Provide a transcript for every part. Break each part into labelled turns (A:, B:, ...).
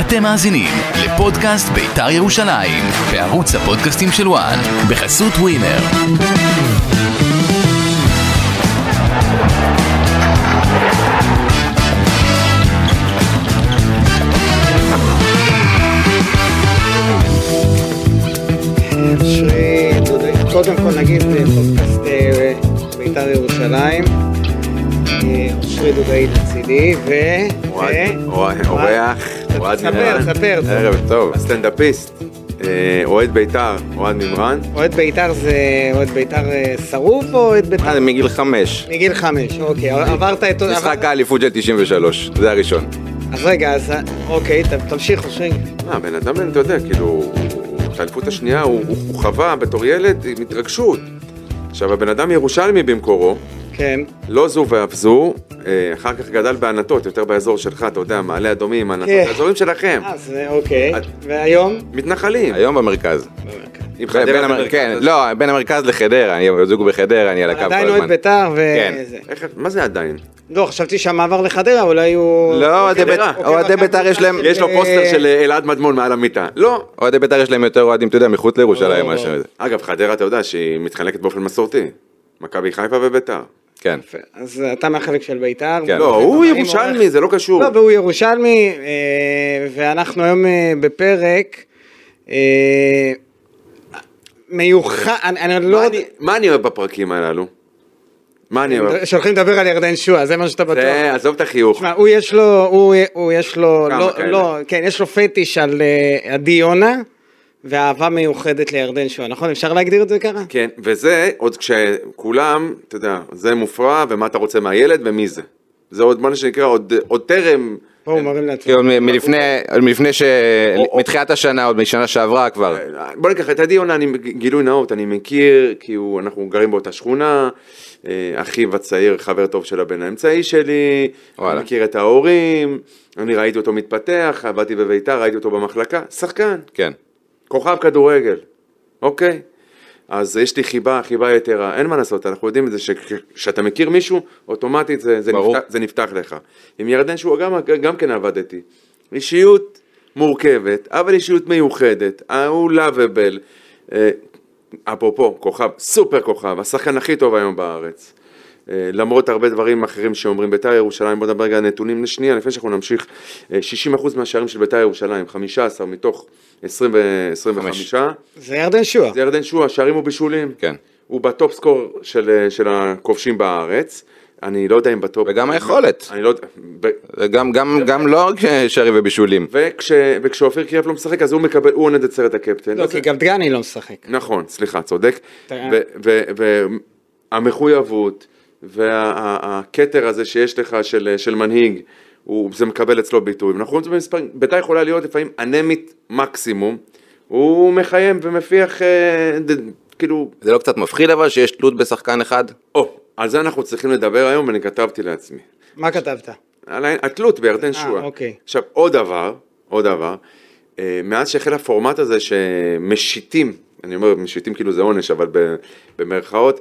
A: אתם מאזינים לפודקאסט בית"ר ירושלים, בערוץ הפודקאסטים של וואן, בחסות ווינר.
B: אשרי, קודם כל נגיד אה, פודקאסט אה, בית"ר ירושלים, אה, אושרי דודאי לצידי, ו... ו-
C: אוהד- אורח, אוהד
B: ספר,
C: מימרן.
B: ספר, ספר.
C: ערב טוב, הסטנדאפיסט, אה, אוהד בית"ר, אוהד מימרן.
B: אוהד בית"ר זה אוהד בית"ר אה, שרוף או אוהד
C: אה,
B: בית"ר?
C: זה מגיל חמש.
B: מגיל חמש, אוקיי, עברת את...
C: משחק
B: עבר-
C: האליפות של 93, זה הראשון.
B: אז רגע, אז אוקיי, ת- תמשיך, אושרי.
C: אה, בן אדם, אתה יודע, כאילו, הוא- את האליפות השנייה הוא הוא- הוא חווה בתור ילד עם התרגשות. עכשיו, הבן אדם ירושלמי במקורו,
B: כן,
C: לא זו ואף זו, אה, אחר כך גדל בענתות, יותר באזור שלך, אתה יודע, מעלה אדומים, ענתות,
B: כן.
C: האזורים שלכם.
B: אז אה, אוקיי,
C: את-
B: והיום?
C: מתנחלים.
D: היום במרכז.
C: עם חדרה
D: בין המר-
C: במרכז,
D: כן,
C: אז-
D: לא, בין המרכז לחדרה, אני זוג בחדרה, אני על הקו כל הזמן.
B: עדיין אוהד בית"ר אה,
D: כן.
B: וזה.
C: איך, מה זה עדיין?
B: לא, חשבתי שהמעבר לחדרה אולי הוא... אוקיי,
D: לא, אוהדי
C: חדרה.
D: בית- אוהדי
B: מכבי
D: בית"ר יש להם...
B: חיפה.
C: אוקיי,
B: אה,
C: יש לו פוסטר
D: אה,
C: של אה, אלעד מדמון מעל המיטה. לא.
D: אוהדי בית"ר יש להם יותר אוהדים, אתה יודע, מחוץ לירושלים
B: לא, לא.
D: מאשר...
C: אגב, חדרה אתה יודע שהיא מתחלקת באופן מסורתי. מכבי חיפה וביתר.
D: כן.
B: יפה, אז אתה מהחלק של בית"ר.
D: כן.
C: לא, הוא
B: עורך-
C: ירושלמי, זה לא קשור.
B: לא, והוא ירושלמי, אה, ואנחנו היום אה, בפרק אה, מיוחד, אני- אני
C: מה
B: לא...
C: אני- מה אני אוהב בפרקים הללו? מה אני אוהב?
B: שהולכים לדבר על ירדן שועה, זה מה שאתה בטוח.
C: זה, עזוב את החיוך.
B: תשמע, הוא יש לו, הוא, הוא יש לו,
C: כמה
B: לא,
C: כאלה?
B: לא, כן, יש לו פטיש על אה, עדי יונה, ואהבה מיוחדת לירדן שועה, נכון? אפשר להגדיר את זה ככה?
C: כן, וזה עוד כשכולם, אתה יודע, זה מופרע, ומה אתה רוצה מהילד ומי זה. זה עוד מה שנקרא, עוד- עוד טרם,
B: בואו, מראים
C: כן,
B: לעצמם.
D: כאילו, מ- מלפני, מלפני ש...
C: או-
D: מתחילת השנה, עוד משנה שעברה כבר.
C: בוא ניקח את עדי יונה, אני גילוי נאות, אני מכיר, כי הוא, אנחנו גרים באותה שכונה, אה, אחיו הצעיר, חבר טוב של הבן האמצעי שלי,
D: וואלה.
C: אני מכיר את ההורים, אני ראיתי אותו מתפתח, עבדתי בביתר, ראיתי אותו במחלקה, שחקן,
D: כן.
C: כוכב כדורגל, אוקיי? אז יש לי חיבה, חיבה יתרה, אין מה לעשות, אנחנו יודעים את זה, שכשאתה מכיר מישהו, אוטומטית זה, זה,
D: ברור.
C: נפתח, זה נפתח לך. עם ירדן שהוא גם, גם כן עבדתי. אישיות מורכבת, אבל אישיות מיוחדת, הוא לאביבל. אה, אפרופו, כוכב, סופר כוכב, השחקן הכי טוב היום בארץ. אה, למרות הרבה דברים אחרים שאומרים בית"ר ירושלים, בוא נדבר רגע על נתונים לשנייה, לפני שאנחנו נמשיך, אה, 60% מהשערים של בית"ר ירושלים, 15 מתוך 20 ו- 25,
B: זה ירדן שועה.
C: זה ירדן שועה, שערים הוא בישולים.
D: כן.
C: הוא בטופ סקור של, אה, של הכובשים בארץ. אני לא יודע אם בטופ...
D: וגם היכולת.
C: אני לא... ב-
D: זה גם, גם,
C: כן.
D: גם לא רק שערים ובישולים.
C: וכש, וכשאופיר קריאף לא משחק, אז הוא מקבל, הוא עונד את סרט הקפטן.
B: לא,
C: אז-
B: כי גם דגני לא משחק.
C: נכון, סליחה, צודק.
B: אתה-
C: והמחויבות והכתר הזה שיש לך של, של מנהיג, הוא, זה מקבל אצלו ביטוי. אנחנו רואים את זה במספרים, בית"ר יכולה להיות לפעמים אנמית מקסימום, הוא מחיים ומפיח, אה, ד- כאילו,
D: זה לא קצת מפחיד אבל שיש תלות בשחקן אחד?
C: או, על זה אנחנו צריכים לדבר היום ואני כתבתי לעצמי.
B: מה כתבת?
C: על ה- התלות בירדן
B: אה,
C: שועה.
B: אוקיי.
C: עכשיו, עוד דבר, עוד דבר, אה, מאז שהחל הפורמט הזה שמשיתים, אני אומר משיתים כאילו זה עונש, אבל ב- במרכאות,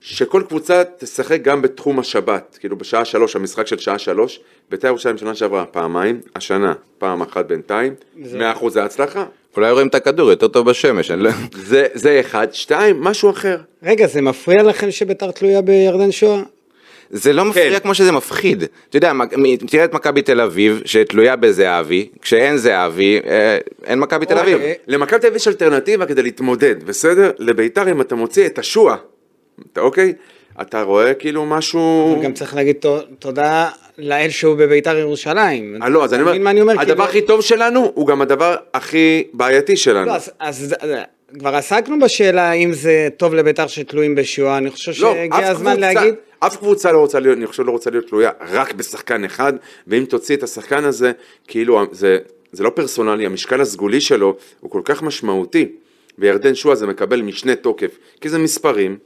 C: שכל קבוצה תשחק גם בתחום השבת, כאילו בשעה שלוש, המשחק של שעה שלוש, בית"ר ירושלים שנה שעברה פעמיים, השנה פעם אחת בינתיים,
B: זה-
C: מאה אחוז זה הצלחה.
D: אולי רואים את הכדור יותר טוב בשמש, אני לא...
C: זה, זה אחד, שתיים, משהו אחר.
B: רגע, זה מפריע לכם שביתר תלויה בירדן שועה?
D: זה לא מפריע
C: כן.
D: כמו שזה מפחיד. אתה יודע, מק- מ- תראה את מכבי תל אביב, שתלויה בזהבי, כשאין זהבי, אה, אין מכבי תל אביב.
C: אה,
B: אוקיי.
C: למכבי תל אביב יש אלטרנטיבה כדי להתמודד, בסדר? לביתר אם אתה מוציא את השועה, אתה אוקיי? אתה רואה כאילו משהו...
B: גם צריך להגיד ת- תודה לאל שהוא בביתר ירושלים.
C: אה, לא, אז אני
B: אתה מבין מה אני אומר?
C: אומר, הדבר
B: כאילו-
C: הכי טוב שלנו הוא גם הדבר הכי בעייתי שלנו.
B: לא, אז- אז אה, כבר עסקנו בשאלה אם זה טוב לביתר שתלויים בשואה, אני חושב
C: לא,
B: שהגיע
C: אף
B: הזמן
C: קבוצה-
B: להגיד.
C: אף קבוצה לא רוצה להיות, אני חושב לא רוצה להיות תלויה רק בשחקן אחד, ואם תוציא את השחקן הזה, כאילו זה, זה לא פרסונלי, המשקל הסגולי שלו הוא כל כך משמעותי, וירדן שועה זה מקבל משנה תוקף, כי זה מספרים,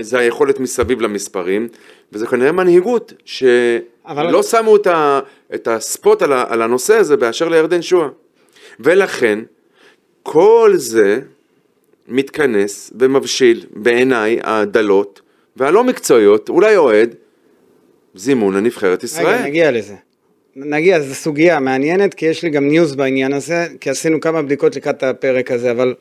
C: זה היכולת מסביב למספרים, וזה כנראה מנהיגות,
B: אבל-
C: שלא שמו את, ה, את הספוט על, ה, על הנושא הזה באשר לירדן שועה. ולכן, כל זה מתכנס ומבשיל בעיניי הדלות והלא מקצועיות, אולי אוהד, זימון לנבחרת ישראל.
B: רגע, נגיע לזה. נגיע, זו סוגיה מעניינת, כי יש לי גם ניוז בעניין הזה, כי עשינו כמה בדיקות לקראת הפרק הזה, אבל...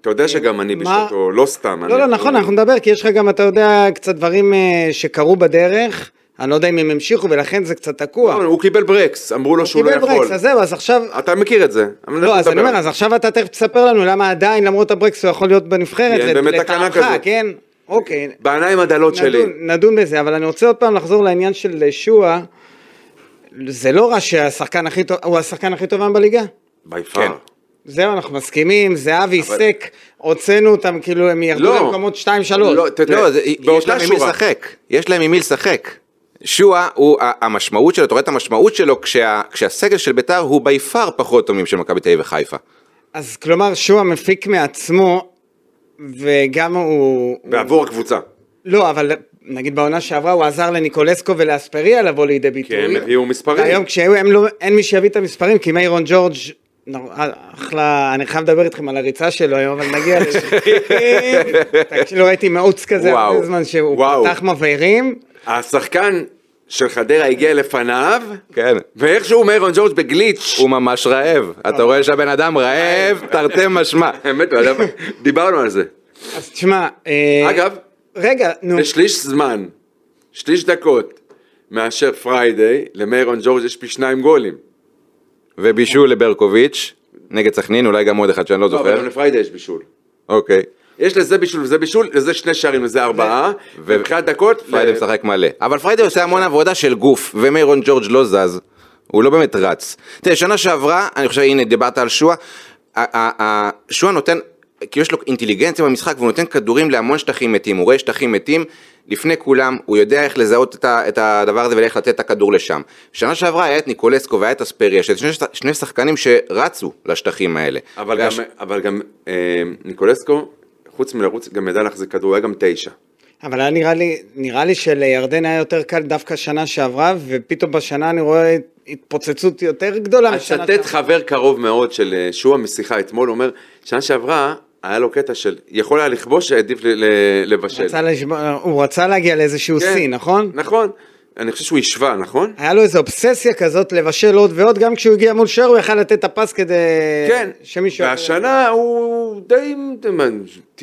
C: אתה יודע שגם אני
B: מה-
C: בשעתו, לא סתם.
B: לא,
C: אני-
B: לא, נכון, אנחנו נדבר, כי יש לך גם, אתה יודע, קצת דברים אה, שקרו בדרך, אני לא יודע אם הם המשיכו, ולכן זה קצת תקוע.
C: לא, הוא קיבל ברקס, אמרו לו שהוא לא
B: קיבל
C: יכול.
B: ברקס, אז זהו, אז עכשיו...
C: אתה מכיר את זה. אבל אנחנו
B: לא, אז אני
C: נדבר.
B: אומר, אז עכשיו אתה תכף תספר לנו למה עדיין, למרות הברקס, הוא יכול להיות בנבחרת,
C: כן,
B: לט-
C: באמת תקנה
B: לטעמך,
C: כזאת.
B: כן? אוקיי,
C: בעיניים הדלות שלי.
B: נדון, נדון בזה, אבל אני רוצה עוד פעם לחזור לעניין של אה, שועה. זה לא רע שהשחקן הכי טוב, הוא השחקן הכי טוב היום בליגה?
C: בי
D: כן.
C: פאר.
B: זהו, אנחנו מסכימים, זהבי, סק, הוצאנו אותם, כאילו הם ירדו
C: לא.
B: למקומות 2-3.
C: לא, אתה יודע,
D: לא, זה- יש
C: באותה
D: להם עם מי
C: שורה.
D: לשחק. יש להם עם מי לשחק. שועה הוא, ה- המשמעות שלו, אתה רואה את המשמעות שלו כשה, כשהסגל של ביתר הוא בי פאר פחות טוב משל מכבי תל אביב וחיפה.
B: אז כלומר, שועה מפיק מעצמו, וגם הוא...
C: בעבור הקבוצה.
B: לא, אבל נגיד בעונה שעברה הוא עזר לניקולסקו ולאספריה לבוא לידי ביטוי.
C: כי כן, הם הביאו מספרים.
B: והיום כשהיו, הם לא, אין מי שיביא את המספרים, כי מיירון ג'ורג', נור- אה, אחלה, אני חייב לדבר איתכם על הריצה שלו היום, אבל נגיע לזה. תקשיב, לא ראיתי מאוץ כזה
C: וואו.
B: הרבה זמן שהוא
C: וואו.
B: פתח מבעירים.
C: השחקן של חדרה הגיע לפניו,
D: כן.
C: ואיכשהו מיירון ג'ורג' בגליץ'.
D: הוא ממש רעב. אתה רואה שהבן אדם רעב, תרתי משמע.
C: האמת, הוא עליו- דיברנו על זה.
D: כן.
B: אז תשמע, אה,
C: אגב,
B: רגע, נו,
C: בשליש זמן, שליש דקות, מאשר פריידי, למיירון ג'ורג' יש פי שניים גולים.
D: ובישול לברקוביץ', נגד סכנין, אולי גם עוד אחד שאני לא
C: לא, אבל גם
D: זוכר.
C: לפריידי יש בישול.
D: אוקיי.
C: יש לזה בישול וזה בישול, לזה שני שערים וזה ארבעה, ומבחינת דקות,
D: פריידי
C: ל-
D: משחק מלא. אבל פריידי עושה המון
C: כן.
D: עבודה של גוף, ומיירון ג'ורג' לא זז. הוא לא באמת רץ. תראה, שנה שעברה, אני חושב, הנה, דיברת על שועה. ה- ה- ה- שועה נותן, כי יש לו אינטליגנציה במשחק, והוא נותן כדורים להמון שטחים מתים. הוא רואה שטחים מתים לפני כולם, הוא יודע איך לזהות את ה- את הדבר הזה ואיך לתת את הכדור לשם. שנה שעברה היה את ניקולסקו והיה את אספריה, שזה שני שת- שני שחקנים שרצו לשטחים האלה.
C: אבל גם- אבל גם אה, ניקולסקו, חוץ מלרוץ, גם ידע להחזיק כדור, היה גם תשע.
B: אבל היה נראה לי, נראה לי שלירדן היה יותר קל דווקא שנה שעברה, ופתאום בשנה אני רואה התפוצצות יותר גדולה משנה
C: אצטט חבר קרוב מאוד של אה, שועה משיחה אתמול, אומר, שנה שעברה היה לו קטע של, יכול היה לכבוש, העדיף ל- ל- לבשל.
B: רצה לשמוע- הוא רצה להגיע לאיזשהו
C: כן,
B: שיא, נכון?
C: נכון. אני חושב שהוא השווה, נכון?
B: היה לו איזו אובססיה כזאת לבשל עוד ועוד, גם כשהוא הגיע מול שוער הוא יכל לתת את הפס כדי
C: כן.
B: שמישהו...
C: והשנה הוא די...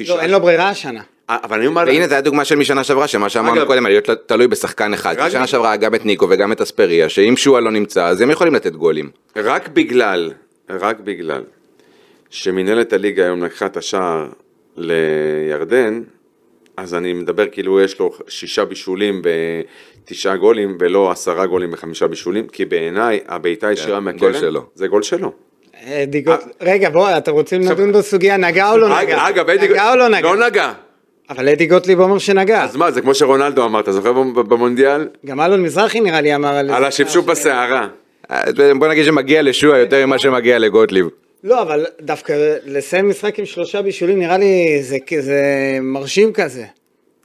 B: לא, אין לו ברירה השנה.
C: אה, אבל אני אומר...
D: והנה זו הדוגמה של משנה שעברה, שמה
C: אגב-
D: שאמרנו קודם, על להיות תלוי בשחקן אחד.
C: רק-
D: בשנה שעברה היה גם את ניקו וגם את אספריה, שאם שועה לא נמצא, אז הם יכולים לתת גולים.
C: רק בגלל, רק בגלל שמינהלת הליגה היום לקחה את השער לירדן, אז אני מדבר כאילו יש לו שישה בישולים בתשעה גולים ולא עשרה גולים בחמישה בישולים, כי בעיניי הבעיטה הישירה
D: כן, גול
C: מהקרן,
D: שלו.
C: זה גול שלו.
B: אה, דיגות, רגע בוא, אתם רוצים לדון בסוגיה, נגע או לא
C: אג-
B: נגע?
C: אגב, אדי-
B: נגע או לא נגע?
C: לא נגע.
B: אבל אדי גוטליב אומר שנגע.
C: אז מה, זה כמו שרונלדו אמר, אתה זוכר במ- במונדיאל?
B: גם אלון מזרחי נראה לי אמר על זה.
C: על השפשוף בסערה.
D: אז אה, בוא נגיד שמגיע לשועה יותר ממה שמגיע לגוטליב.
B: לא, אבל דווקא לסיים משחק עם שלושה בישולים נראה לי זה, זה מרשים כזה.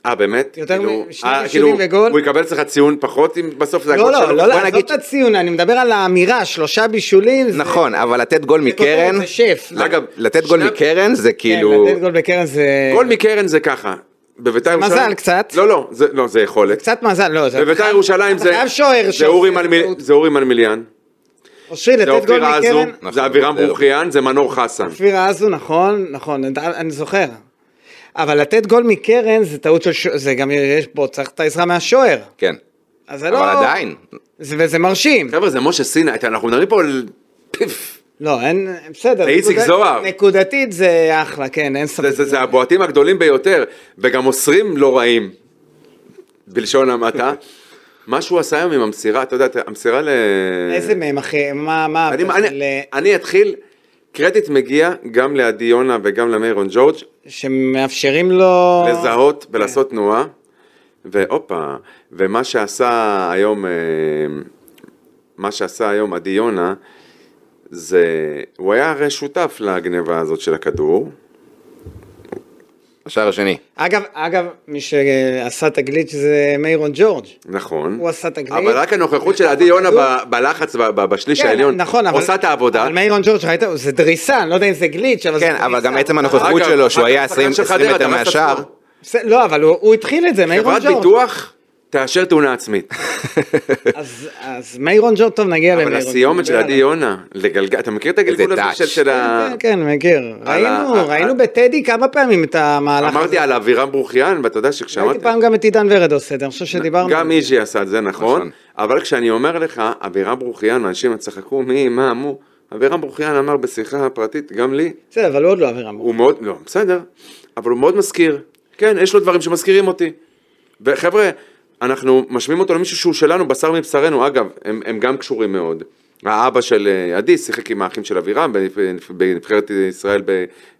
C: אה, באמת?
B: יותר
C: כאילו-
B: משני
C: אה,
B: בישולים
C: כאילו,
B: וגול.
C: הוא יקבל אצלך ציון פחות אם בסוף זה
B: לא,
C: הגול שלו?
B: לא, לא,
C: בוא
B: לא, עזוב
C: נגיד
B: את הציון, אני מדבר על האמירה, שלושה בישולים. זה-
D: נכון, אבל לתת גול
B: זה כותרת,
D: מקרן,
B: זה שף.
C: לא, אגב,
D: לתת גול
C: שני-
D: מקרן זה
B: כן,
D: כאילו...
B: לתת גול בקרן זה...
C: גול מקרן זה ככה. בביתר
B: מזל
C: ירושלים...
B: קצת.
C: לא, לא, זה, לא, זה יכולת.
B: קצת מזל, לא, זה...
C: בביתר ירושלים
B: אתה
C: זה...
B: חייב שוער
C: זה
B: שעושה
C: אורי
B: את
C: מלמיל-
B: הטעות.
C: זה אורי מלמיליאן.
B: אושרי,
C: זה
B: לתת גול
C: אופיר אזו.
B: מקרן.
D: נכון,
C: זה אבירם
D: זהו.
C: ברוכיאן. זה מנור חסן.
B: אופיר אזו, נכון, נכון, אני- אני זוכר. אבל לתת גול מקרן זה טעות של שוער, זה גם יש פה, צריך את העזרה מהשוער.
D: כן.
B: אז זה לא...
D: אבל עדיין,
B: זה- וזה מרשים.
C: חבר'ה, זה משה סיני. אתה- אנחנו מדברים פה על... פיף.
B: לא, אין, בסדר.
C: זה איציק
B: נקודת-
C: זוהר.
B: נקודתית זה אחלה, כן, אין ספק.
C: זה- זה זה הבועטים הגדולים ביותר. וגם אוסרים לא רעים. בלשון המעטה. מה שהוא עשה היום עם המסירה, אתה יודע, המסירה ל...
B: איזה מהם, אחי? מה, מה?
C: אני,
B: אבל,
C: אני,
B: אה,
C: אני אתחיל, קרדיט מגיע גם לעדי יונה וגם למיירון ג'ורג'
B: שמאפשרים לו...
C: לזהות
B: כן.
C: ולעשות תנועה, והופה, ומה שעשה היום, אה, מה שעשה היום עדי יונה, זה, הוא היה הרי שותף לגניבה הזאת של הכדור,
D: השער השני.
B: אגב, אגב, מי שעשה את הגליץ' זה מיירון ג'ורג'.
C: נכון.
B: הוא עשה את הגליץ'.
C: אבל רק הנוכחות של עדי יונה ב- בלחץ, ב- ב- בשליש העליון,
B: נכון, אבל...
C: עושה את העבודה.
B: אבל מיירון ג'ורג' ראית? זה דריסה, אני לא יודע אם זה גליץ', אבל
D: כן,
B: זה
D: אבל
B: דריסה.
D: גם עצם הנוכחות
C: אגב,
D: שלו, שהוא
C: אגב,
D: היה
C: השחקן
D: 20
C: של
D: 20
C: חדרה
D: מטר
C: דרס את
D: מהשער,
C: עצמו.
B: זה- לא, אבל הוא, הוא התחיל את זה, מיירון
C: חברת
B: ג'ורג'.
C: ביטוח, תאשר תאונה עצמית.
B: אז- אז מיירון ג'ורד, טוב, נגיע
C: אבל
B: למיירון.
C: הסיומת של
B: יאללה.
C: עדי יונה, לגלגל, אתה מכיר את הגלגול הזה
D: דאץ'.
C: של- של ה...
B: כן, כן, מכיר.
C: על ה-
B: ראינו,
C: על-
B: ראינו בטדי כמה פעמים את המהלך הזה.
C: אמרתי על אבירם ברוכיאן, ואתה יודע
B: ראיתי
C: שכשאמרתי...
B: פעם גם את עידן ורד עושה את זה, אני חושב שדיברנו.
C: גם
B: על זה.
C: איג'י עשה את זה, נכון.
D: נכון.
C: אבל כשאני אומר לך, אבירם ברוכיאן, אנשים צחקו, מי, מה, מו, אבירם ברוכיאן אמר בשיחה פרטית, גם לי,
B: בסדר, אבל הוא עוד לא אבירם.
C: הוא מאוד, לא, בסדר, אבל הוא מאוד מזכיר. כן, יש לו דברים שמזכירים אותי. וחבר'ה, אנחנו משווים אותו למישהו שהוא שלנו, בשר מבשרנו, אגב, הם, הם גם קשורים מאוד. האבא של אה, עדי שיחק עם האחים של אבירם בנבח- בנבחרת ישראל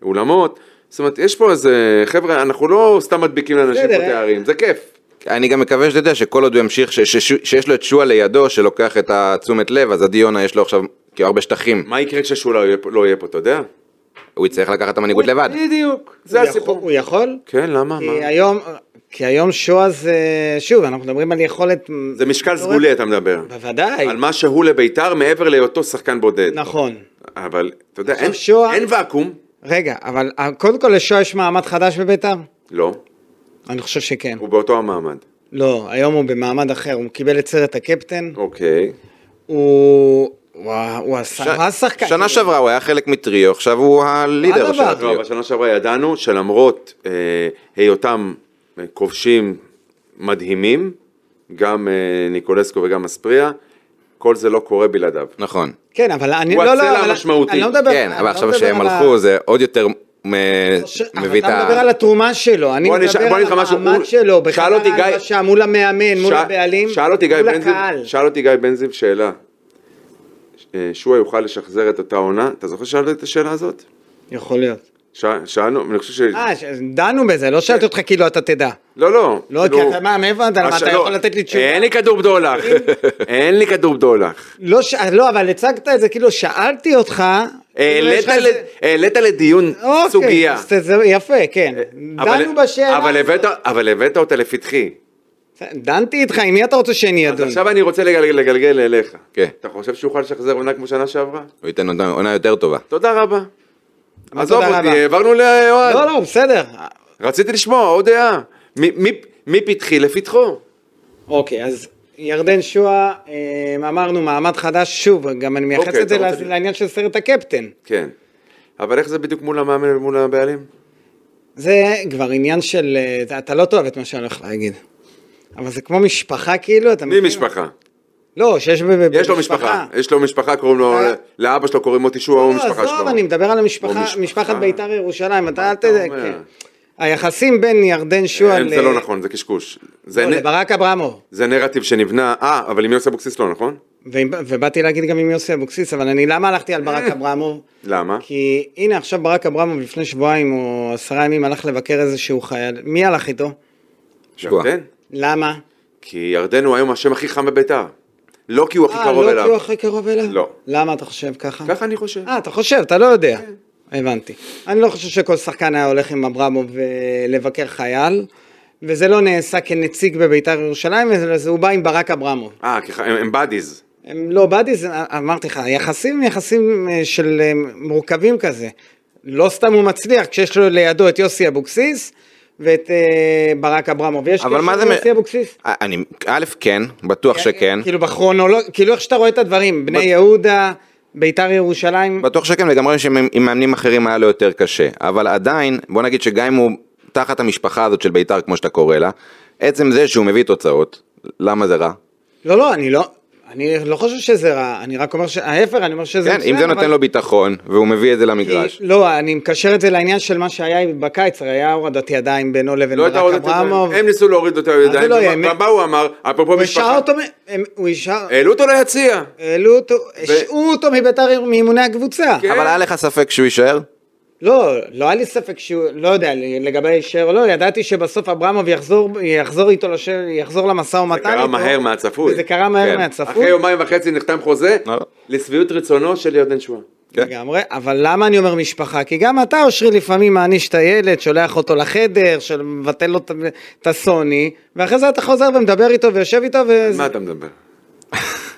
C: באולמות. זאת אומרת, יש פה איזה, חבר'ה, אנחנו לא סתם מדביקים לאנשים פה
B: בסדר, אה.
C: תארים, זה כיף.
D: אני גם מקווה שאתה יודע שכל עוד הוא ימשיך, ש- ש- ש- שיש לו את שועה לידו שלוקח את התשומת לב, אז עדי יונה יש לו עכשיו כאילו הרבה שטחים,
C: מה יקרה כששולה לא יהיה פה- לא יהיה פה, אתה יודע?
D: הוא יצטרך לקחת את המנהיגות לבד.
B: אה.
C: בדיוק, זה
B: הוא יכול-
C: הסיפור.
B: הוא יכול?
C: כן, למה? מה?
B: כי היום, כי היום שואה זה, שוב, אנחנו מדברים על יכולת...
C: זה משקל סגולי אתה מדבר.
B: בוודאי.
C: על מה שהוא לביתר מעבר להיותו שחקן בודד.
B: נכון.
C: אבל אתה יודע,
B: עכשיו
C: אין,
B: שועה-
C: אין ואקום.
B: רגע, אבל אה, קודם כל לשואה יש מעמד חדש בביתר?
C: לא,
B: אני חושב שכן.
C: הוא באותו המעמד.
B: לא, היום הוא במעמד אחר, הוא קיבל את סרט הקפטן,
C: אוקיי.
B: הוא... וואו, הוא עשה...
D: ש-
B: הוא השחקן.
D: שנה שעברה הוא היה חלק מטריו, עכשיו הוא הלידר
B: מה
D: של
B: הדבר?
C: לא,
D: הטריו.
C: אבל שנה שעברה ידענו שלמרות אה, היותם אה, כובשים מדהימים, גם אה, ניקולסקו וגם אספריה, כל זה לא קורה בלעדיו.
D: נכון.
B: כן, אבל אני...
C: הוא
B: לא,
C: הצלע
B: לא, אבל-
C: המשמעותי.
B: אני לא מדבר...
D: כן,
B: אני
D: אבל
B: לא
D: עכשיו
B: מדבר
D: שהם
B: על ה-
D: הלכו זה עוד יותר מ- מביא את
B: אבל אתה מדבר על
D: ה...
B: התרומה שלו, אני
C: בוא אני אשאל-
B: מדבר
C: בוא אני
B: על
C: אגיד לך משהו,
B: המעמד
C: הוא-
B: שלו,
C: שאל
B: בחדר
C: אותי גיא-
B: ההלבשה, מול המאמן, מול
C: שא-
B: הבעלים,
C: שאל אותי גיא
B: מול
C: בן זיו-
B: הקהל.
C: שאל אותי גיא בן זיו שאלה. ש- אה, שועה יוכל לשחזר את אותה עונה? אתה זוכר ששאלת את השאלה הזאת?
B: יכול להיות.
C: ש- שאלנו, אני חושב ש...
B: אה, ש- דנו בזה, לא שאלתי אותך כאילו אתה תדע.
C: לא, לא.
B: לא, כי
C: כאילו-
B: אתה- מה, מאיפה אתה- מה,
C: הש-
B: אתה
C: לא,
B: יכול לתת לי תשובה?
C: אין לי כדור בדולח. אין לי כדור בדולח.
B: לא, ש- לא, אבל הצגת את זה, כאילו שאלתי אותך... כאילו, יש
C: העלית
B: לך איזה-
C: ל- העלית לדיון
B: אוקיי,
C: סוגיה. אה,
B: אז זה- יפה, כן.
C: אבל-
B: דנו בשאלה.
C: אבל
B: הזאת.
C: הבאת- אבל הבאת אותה לפתחי.
B: דנתי איתך, עם מי אתה רוצה שאני
C: אז
B: אדון?
C: עכשיו אני רוצה לגלגל- לגלגל אליך.
D: כן.
C: אתה חושב שאוכל לשחזר עונה כמו שנה שעברה?
D: הוא ייתן עונה- עונה יותר טובה.
C: תודה רבה.
B: מה
C: עזוב
B: תודה
C: אותי,
B: רבה?
C: העברנו לאוהד.
B: לא, לא, בסדר.
C: רציתי לשמוע עוד דעה. מ- מ- מפתחי לפתחו.
B: אוקיי, אז ירדן שואה, אה, אמרנו מעמד חדש, שוב, גם אני מייחס
C: אוקיי,
B: את זה
C: אתה
B: ל-
C: רוצה-
B: לעניין של סרט הקפטן.
C: כן. אבל איך זה בדיוק מול המאמן ומול הבעלים?
B: זה כבר עניין של, אה, אתה לא תאהב את מה שאני הולך להגיד. אבל זה כמו משפחה כאילו, אתה
C: מי
B: מכיר?
C: משפחה?
B: לא, שיש ב- ב-
C: יש לו משפחה. יש לו משפחה, קוראים לו...
B: אה.
C: לאבא שלו קוראים מוטי שועה, הוא
B: לא,
C: משפחה שלו.
B: עזוב, אני מדבר על המשפחה,
C: משפחה.
B: משפחת בית"ר ירושלים, אתה אל
C: אתה
B: תדע,
C: אומר?
B: כן. היחסים בין ירדן שועה
C: אין, זה לא נכון, זה קשקוש. זה
B: לא,
C: נ-
B: לברק אברמוב.
C: זה נרטיב שנבנה, אה, אבל עם יוסי אבוקסיס לא, נכון?
B: ועם- ובאתי להגיד גם עם יוסי אבוקסיס, אבל אני, למה הלכתי על ברק אברמוב?
C: למה?
B: כי הנה עכשיו ברק אברמוב לפני שבועיים או עשרה ימים הלך לבקר איזשהו חייל, מי הלך איתו?
D: שבוע.
C: ירדן?
B: למה?
C: כן? כי ירדן הוא היום השם הכי חם בביתר. לא כי הוא הכי
B: אה,
C: קרוב
B: לא כי הוא
C: אליו.
B: הכי קרוב אליו?
C: לא.
B: למה אתה חושב ככה?
C: ככה אני חושב.
B: אה, אתה חושב, אתה לא יודע. הבנתי. אני לא חושב שכל שחקן היה הולך עם אברמוב אה, לבקר חייל, וזה לא נעשה כנציג בבית"ר ירושלים, אלא זה- הוא בא עם ברק אברמוב.
C: אה, כי ח- הם הם בדיז.
B: הם לא באדי, אמרתי לך, היחסים הם יחסים אה, של אה, מורכבים כזה. לא סתם הוא מצליח, כשיש לו לידו את יוסי אבוקסיס ואת אה, ברק אברמוב. יש
D: אבל מה
B: קשר
D: זה... מ-
B: ליוסי אבוקסיס?
D: אה, אני... א', כן, בטוח שכן.
B: כאילו בכרונולוג... כאילו איך שאתה רואה את הדברים, בני יהודה, ביתר ירושלים.
D: בטוח שכן, וגם רואים שעם מאמנים אחרים היה לו יותר קשה. אבל עדיין, בוא נגיד שגם אם הוא תחת המשפחה הזאת של בית"ר, כמו שאתה קורא לה, עצם זה שהוא מביא תוצאות, למה זה רע?
B: לא, לא, אני לא... אני לא חושב שזה רע, אני רק אומר ש... ההפך, אני אומר שזה...
D: כן, אם זה
B: מצוין, אבל-
D: נותן לו ביטחון, והוא מביא את זה למגרש.
B: כי- לא, אני מקשר את זה לעניין של מה שהיה בקיץ, הרי היה הורדת ידיים בינו לבין
C: לא הייתה עוד
B: ברק
C: את
B: אברמוב.
C: זה. הם ניסו להוריד אותו
B: זה
C: לידיים.
B: לא יהיה,
C: מה הוא אמר? אפרופו
B: הוא השעה
C: משפחה.
B: אותו, מ- הם- הוא השעה,
C: העלו אותו ליציע.
B: העלו אותו, השעו אותו מביתר, מאימוני הקבוצה.
C: כן.
D: אבל היה לך ספק שהוא יישאר?
B: לא, לא היה לי ספק שהוא, לא יודע לגבי יישאר או לא, ידעתי שבסוף אברמוב יחזור, יחזור איתו, לש... יחזור למשא ומתן איתו.
C: קרה מהר מהצפוי.
B: זה קרה מהר
D: כן.
B: מהצפוי.
C: אחרי יומיים וחצי נחתם חוזה,
D: לא.
C: לשביעות רצונו של ירדן שואה.
D: כן.
B: לגמרי, אבל למה אני אומר משפחה? כי גם אתה, אושרי, לפעמים מעניש את הילד, שולח אותו לחדר, של- מבטל לו את- את הסוני, ואחרי זה אתה חוזר ומדבר איתו ויושב איתו,
C: מה
B: וזה...
C: אתה מדבר?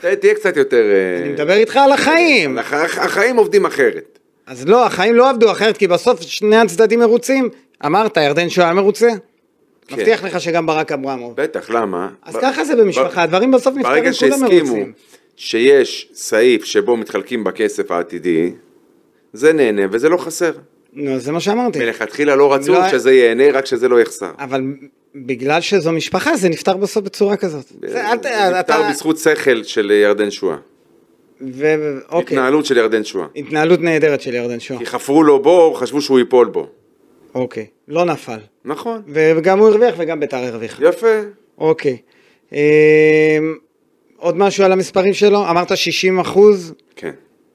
C: תה- תהיה קצת יותר... אה,
B: אני מדבר איתך על החיים.
C: הח- הח- החיים עובדים אחרת.
B: אז לא, החיים לא עבדו אחרת, כי בסוף שני הצדדים מרוצים. אמרת, ירדן שואה מרוצה?
C: כן.
B: מבטיח לך שגם ברק אברמוב.
C: בטח, למה?
B: אז ככה זה במשפחה, הדברים בסוף נפתרים,
C: ברגע
B: כולם
C: שהסכימו
B: מרוצים.
C: שיש סעיף שבו מתחלקים בכסף העתידי, זה נהנה וזה לא חסר.
B: נו, זה מה שאמרתי.
C: מלכתחילה לא רצו
B: לא- אה,
C: שזה ייהנה, רק שזה לא יחסר.
B: אבל בגלל שזו משפחה, זה נפתר בסוף בצורה כזאת. זה- אל ת- אתה-
C: זה נפתר בזכות שכל של ירדן שואה.
B: ו- ו- אוקיי.
C: התנהלות של ירדן שואה.
B: התנהלות נהדרת של ירדן שואה.
C: כי חפרו לו בור, חשבו שהוא ייפול בו.
B: אוקיי. לא נפל.
C: נכון.
B: וגם הוא הרוויח וגם ביתר הרוויחה.
C: יפה.
B: אוקיי. אמ, עוד משהו על המספרים שלו? אמרת 60 אחוז.
C: כן.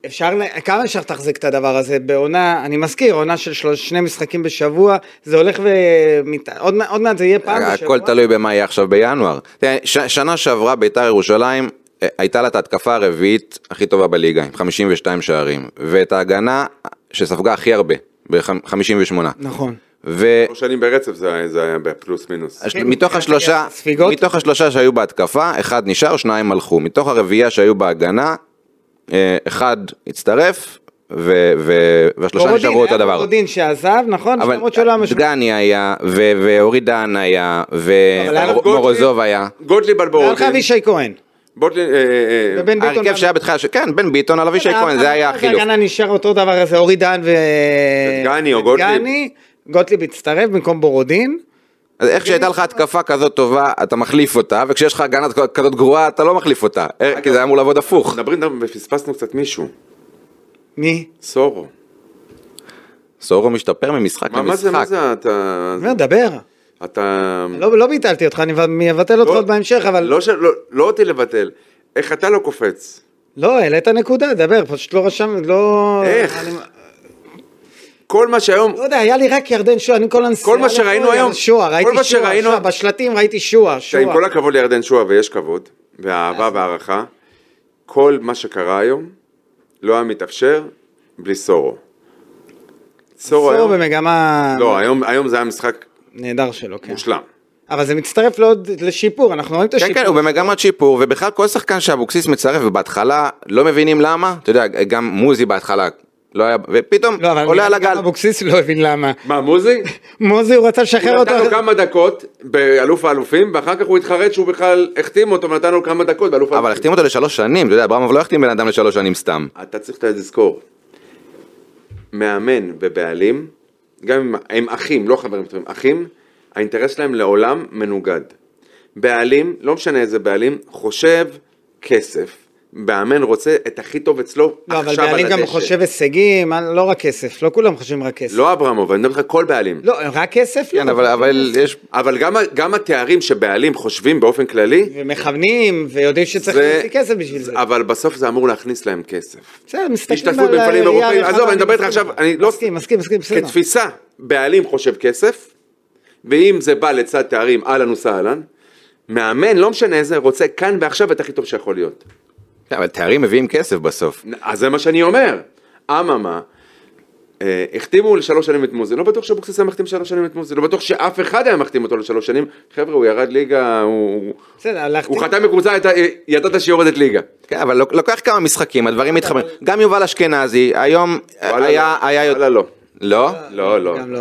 B: אפשר, ל- כמה אפשר לתחזק את הדבר הזה בעונה, אני מזכיר, עונה של שלוש, שני משחקים בשבוע, זה הולך ו... מת- עוד, מע- עוד מעט זה יהיה פעם בשבוע.
D: הכל תלוי במה יהיה עכשיו בינואר. תראה, ש- שנה שעברה ביתר ירושלים, אה, הייתה לה את ההתקפה הרביעית הכי טובה בליגה, עם 52 שערים, ואת ההגנה שספגה הכי הרבה, ב-58.
B: נכון.
C: שלוש שנים ברצף זה זה היה בפלוס מינוס.
D: ומתוך השלושה,
B: ספיגות?
D: מתוך השלושה שהיו בהתקפה, אחד נשאר, שניים הלכו. מתוך הרביעייה שהיו בהגנה, אה, אחד הצטרף, ו- ו- והשלושה
B: בורודין,
D: נשארו אותו
B: היה
D: דבר.
B: בורודין שעזב, נכון?
D: אבל
B: למרות שלא היה משהו.
D: דגני היה, ו- ואורי דן היה,
B: אבל היה לו
D: ומורוזוב היה.
C: גוטליב
B: היה
C: על
B: לך
C: בורודין.
B: אבישי כהן.
C: בוטלין, אה, אה,
B: ובן ביטון.
D: ההרכב שהיה בתחילה, ש- כן, בן ביטון על אבישי כהן, זה היה החילוף.
B: הגנה נשאר אותו דבר הזה, אורי דן ו...
C: דגני או גוטליב.
B: דגני, גוטליב הצטרף במקום בורודין.
D: אז איך שהייתה
B: כאילו-
D: לך התקפה כזאת טובה, אתה מחליף אותה, וכשיש לך הגנה כזאת גרועה, אתה לא מחליף אותה. אה, כי זה היה אמור לעבוד הפוך.
C: מדברים גם ופספסנו קצת מישהו.
B: מי?
C: סורו.
D: סורו משתפר ממשחק
C: מה מה זה, מה
D: למשחק.
C: זה, אתה...
B: אומר, דבר.
C: אתה...
B: לא לא ביטלתי אותך, אני אבטל אותך
C: לא-
B: עוד בהמשך, אבל
C: לא ש- לא- לא אותי לבטל. איך אתה לא קופץ?
B: לא, העלית נקודה, דבר, פשוט לא רשם, לא...
C: איך?
B: אני-
C: כל מה שהיום...
B: לא יודע, היה לי רק ירדן שועה, אני כל הנסיעה...
C: כל מה שראינו
B: לפה,
C: היום,
B: שועה,
C: כל
B: ראיתי
C: מה
B: שועה,
C: שראינו-
B: שועה, בשלטים ראיתי שועה,
C: תראה, עם
B: שועה.
C: כל הכבוד לירדן שועה, ויש כבוד, ואהבה והערכה, כל מה שקרה היום לא היה מתאפשר בלי סורו. סורו
B: סורו
C: היום...
B: במגמה...
C: לא, היום- היום זה היה משחק
B: נהדר שלו, כן.
C: מושלם.
B: אבל זה מצטרף לעוד לשיפור, אנחנו רואים את
D: כן,
B: השיפור.
D: כן, הוא במגמת שיפור, ובכלל כל שחקן שאבוקסיס מצרף, ובהתחלה לא מבינים למה, אתה יודע, גם מוזי בהתחלה לא היה, ופתאום
B: לא, אבל
D: עולה על
B: גם
D: הגל.
B: אבוקסיס לא הבין למה.
C: מה, מוזי?
B: מוזי הוא רצה לשחרר
C: הוא
B: אותו.
C: נתן לו כמה דקות באלוף האלופים, ואחר כך הוא התחרט שהוא בכלל החתים אותו ונתן לו כמה דקות באלוף
D: אבל
C: האלופים.
D: החתים אותו לשלוש שנים, אתה יודע, אברמוב לא החתים בן אדם לשלוש שנים סתם.
C: אתה צריך לזכור, מאמן ובעלים, גם אם הם אחים, לא חברים טובים, אחים, האינטרס שלהם לעולם מנוגד. בעלים, לא משנה איזה בעלים, חושב כסף. מאמן רוצה את הכי טוב אצלו
B: לא, אבל
C: עכשיו על
B: בעלים
C: הדשא.
B: גם חושב הישגים, לא רק כסף, לא כולם חושבים רק כסף.
C: לא אברמוב, אני מדבר איתך כל בעלים.
B: לא, רק כסף?
D: כן,
B: לא.
D: אבל- אבל יש...
C: אבל גם, ה- גם התארים שבעלים חושבים באופן כללי,
B: ומכוונים, ויודעים שצריך
C: זה-
B: להוציא כסף בשביל זה.
C: אבל בסוף זה אמור להכניס להם כסף.
B: בסדר, מסתכלים
C: השתתפות
B: על
C: במפעלים
B: הראייה
C: אירופאיים,
B: הרחבה,
C: עזוב, אני מדבר איתך
B: מסכים
C: עכשיו,
B: איתך.
C: אני לא...
B: מסכים, מסכים, מסכים, בסדר.
C: כתפיסה, בעלים חושב כסף, ואם זה בא לצד תארים, אהלן וסהלן, מאמן, לא משנה איזה, רוצה כאן ועכשיו את הכי טוב שיכול להיות.
D: כן, אבל תארים מביאים כסף בסוף.
C: אז זה מה שאני אומר. אממה, אה, החתימו לשלוש שנים את מוזי, לא בטוח שאבוקסיס היה מחתים שלוש שנים את מוזי, לא בטוח שאף אחד היה מחתים אותו לשלוש שנים. חבר'ה, הוא ירד ליגה, הוא-
B: בסדר, הלכתי.
C: הוא חתם בקבוצה, הייתה- ידעת שהיא יורדת ליגה.
D: כן, אבל לוק- לוקח כמה משחקים, הדברים מתחברים. גם יובל אשכנזי, היום
C: כן. וואלה,
D: היה...
C: לא.
D: היה-
C: וואלה, לא.
D: לא?
C: לא, לא.
B: גם לא,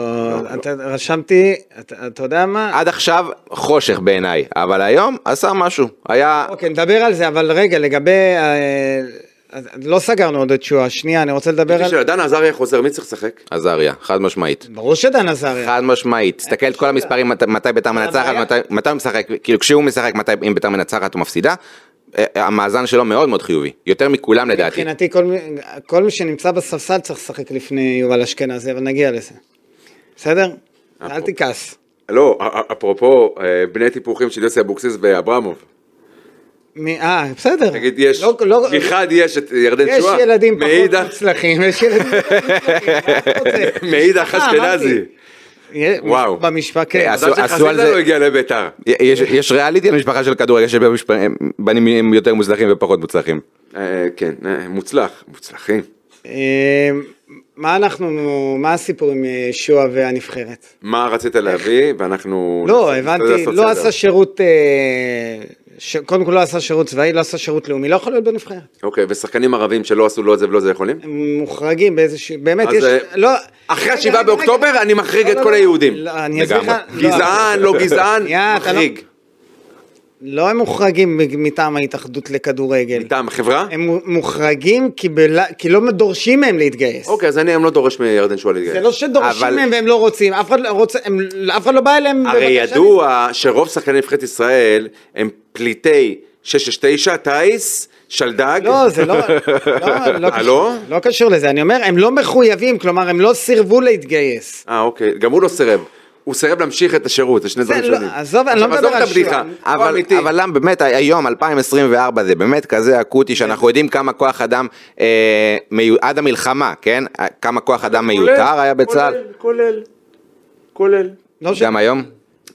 B: אתה- רשמתי, אתה אתה יודע מה?
D: עד עכשיו חושך בעיניי, אבל היום עשה משהו. היה...
B: אוקיי, נדבר על זה, אבל רגע, לגבי... אה, אז לא סגרנו עוד את שואה, שנייה, אני רוצה לדבר על...
C: כשדן עזריה חוזר, מי צריך לשחק?
D: עזריה, חד משמעית.
B: ברור שדן עזריה.
D: חד משמעית, תסתכל את כל המספרים מת- מתי ביתר מנצחת,
B: הבעיה.
D: מתי- מתי הוא משחק, כאילו כשהוא משחק מתי אם ביתר מנצחת הוא מפסידה, אה, המאזן שלו מאוד מאוד חיובי, יותר מכולם לדעתי.
B: מבחינתי, כל מי- כל מי שנמצא בספסל צריך לשחק לפני יובל אשכנזי, אבל נגיע לזה. בסדר? אל תכעס.
C: לא, א- א- אפרופו אה, בני טיפוחים של יוסי אבוקסיס ואברמוב.
B: מי- אה, בסדר.
C: נגיד יש,
B: לא- לא-
C: מחד יש את ירדן
B: יש
C: שואה,
B: ילדים פחות
C: מאידך-
B: מוצלחים, יש ילדים פחות מוצלחים, מה אתה רוצה?
C: מאידך
B: אה,
C: אשכנזי.
B: אמרתי. יש-
C: וואו.
B: במשפט, כן.
D: אה,
C: מזל
D: עשו- עשו על
C: שחזיזה
D: זה-
C: לא הגיע לביתר.
D: יש- יש ריאליטי על משפחה של כדורגל שבנים הם יותר מוצלחים ופחות מוצלחים.
C: אה, כן, אה, מוצלח, מוצלחים.
B: אה, מה אנחנו, מה הסיפור עם אה, שועה והנבחרת?
C: מה רצית להביא ואנחנו...
B: לא,
C: נעשה-
B: הבנתי,
C: נעשה
B: לא
C: סדר.
B: עשה שירות אה, שקודם כל לא עשה שירות צבאי, לא עשה שירות לאומי, לא יכול להיות בנבחרת.
C: אוקיי, ושחקנים ערבים שלא עשו לא את זה ולא זה יכולים?
B: הם מוחרגים באיזשהו... באמת,
C: אז,
B: יש...
C: אה,
B: לא...
C: אחרי
B: רגע,
C: השבעה
B: רגע, רגע.
C: באוקטובר אני מחריג
B: לא,
C: את
B: לא,
C: כל
B: לא.
C: היהודים.
B: לא, אני אסביר לך...
D: לגמרי.
B: לא,
C: גזען, לא גזען,
B: שנייה, אתה לא-
C: מחריג.
B: לא הם מוחרגים מטעם ההתאחדות לכדורגל.
C: מטעם החברה?
B: הם מוחרגים כי, בל... כי לא דורשים מהם להתגייס.
C: אוקיי, אז אני הם לא דורש מירדן שועה להתגייס.
B: זה לא שדורשים
D: אבל-
B: מהם והם לא רוצים, אף אחד לא, רוצה, הם, אף אחד לא בא אליהם.
C: הרי
B: בבקשה.
C: ידוע שרוב שחקני נבחרת ישראל הם פליטי 669, טיס, שלדג.
B: לא, זה לא, לא, לא
C: אה, לא?
B: קשור, לא קשור לזה, אני אומר, הם לא מחויבים, כלומר, הם לא סירבו להתגייס.
C: אה, אוקיי, גם הוא לא סירב. הוא סירב להמשיך את השירות, זה שני
B: זה
C: דברים
B: לא-
C: שונים.
B: עזוב, אני לא
C: עכשיו,
B: מדבר על
C: עזוב את הבדיחה,
B: שיעור.
C: אבל
D: אבל,
C: אמיתי.
D: אבל למה באמת היום 2024 זה באמת כזה
B: כן.
D: אקוטי שאנחנו יודעים כמה כוח אדם אה, מיו, עד המלחמה כן אה, כמה כוח אדם מיותר היה בצה"ל
C: כולל, כולל, כולל.
B: לא ש-
D: גם היום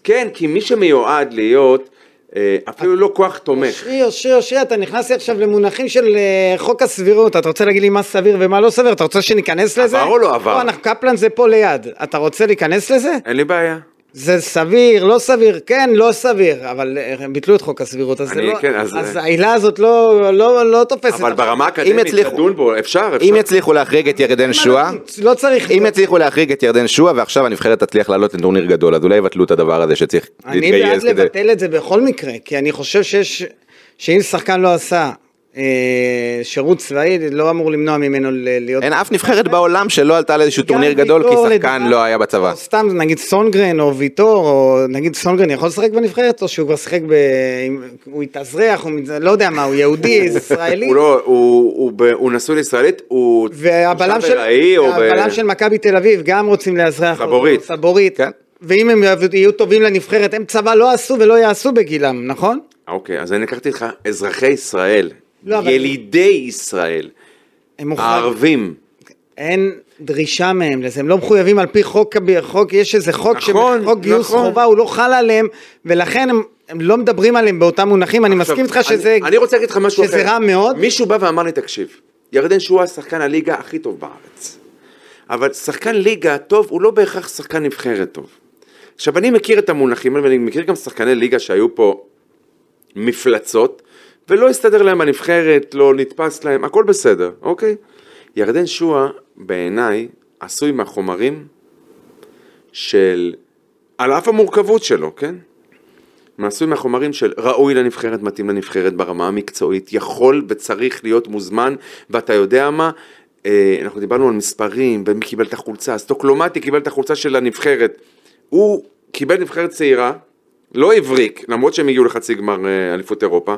C: כן, כי מי שמיועד להיות, אה, אפילו לא כוח תומך.
B: אושרי, אושרי, אושרי, אתה נכנס לי עכשיו למונחים של אה, חוק הסבירות, אתה רוצה להגיד לי מה סביר ומה לא סביר, אתה רוצה שניכנס לזה?
C: או לא עבר?
B: פה, אנחנו- קפלן זה פה ליד, אתה רוצה להיכנס לזה?
C: אין לי בעיה.
B: זה סביר, לא סביר, כן, לא סביר, אבל אה, הם ביטלו את חוק הסבירות, אז זה
C: אני-
B: לא-
C: כן, אז-
B: אז העילה הזאת לא- לא לא תופסת.
C: אבל ברמה האקדמית
D: יצליחו-
C: לדון בו, אפשר,
D: אם
C: אפשר.
D: יצליחו להחריג את ירדן שואה
B: לא צריך...
D: אם יצליחו להחריג את ירדן שואה ועכשיו הנבחרת תצליח לעלות לטורניר גדול אז אולי יבטלו את הדבר הזה שצריך
B: אני בעד
D: להתגייס כדי
B: לבטל את זה בכל מקרה, כי אני חושב שיש, שאם שחקן לא עשה אה, שירות צבאי, זה לא אמור למנוע ממנו ל- להיות...
D: אין אף נבחרת בעולם שלא עלתה לאיזשהו
B: גם
D: טורניר גדול כי
B: ויטור
D: שחקן
B: לדוגמה,
D: לא היה בצבא
B: או סתם נגיד סונגרן או ויטור, או נגיד סונגרן יכול לשחק בנבחרת, או שהוא כבר שיחק ב... אם- הוא התאזרח, הוא מת- לא יודע מה, הוא יהודי, ישראלי.
C: הוא לא, הוא- הוא ב- הוא נשוי לישראלית, הוא...
B: והבלם
C: תושב
B: של,
C: ארעי או ב-
B: והבלם של מכבי תל אביב גם רוצים לאזרח אותו,
C: סבורית.
B: סבורית.
D: כן.
B: ואם הם יעבדו- יהיו טובים לנבחרת, הם צבא לא עשו ולא יעשו בגילם, נכון?
C: אוקיי, אז אני לקחתי לך אזרחי ישראל,
B: לא, אבל-
C: ילידי ישראל,
B: הם מוכרחים.
C: הערבים.
B: אין דרישה מהם לזה, הם לא מחויבים על פי חוק, חוק יש איזה חוק,
C: נכון,
B: חוק גיוס
C: נכון.
B: חובה, הוא לא חל עליהם, ולכן הם, הם לא מדברים עליהם באותם מונחים, אני מסכים איתך
C: עכשיו,
B: שזה,
C: אני, אני רוצה להגיד לך משהו אחר.
B: שזה רע מאוד.
C: מישהו בא ואמר לי, תקשיב, ירדן שואה שחקן הליגה הכי טוב בארץ. אבל שחקן ליגה טוב הוא לא בהכרח שחקן נבחרת טוב. עכשיו, אני מכיר את המונחים האלה, ואני מכיר גם שחקני ליגה שהיו פה מפלצות, ולא הסתדר להם הנבחרת, לא נתפס להם, הכל בסדר, אוקיי? ירדן שואה, בעיניי, עשוי מהחומרים של... על אף המורכבות שלו, כן? מעשוי מהחומרים של ראוי לנבחרת, מתאים לנבחרת ברמה המקצועית, יכול וצריך להיות מוזמן, ואתה יודע מה, אה, אנחנו דיברנו על מספרים, ומי קיבל את החולצה, סטוקלומטי קיבל את החולצה של הנבחרת. הוא קיבל נבחרת צעירה, לא הבריק, למרות שהם הגיעו לחצי גמר אה, אליפות אירופה,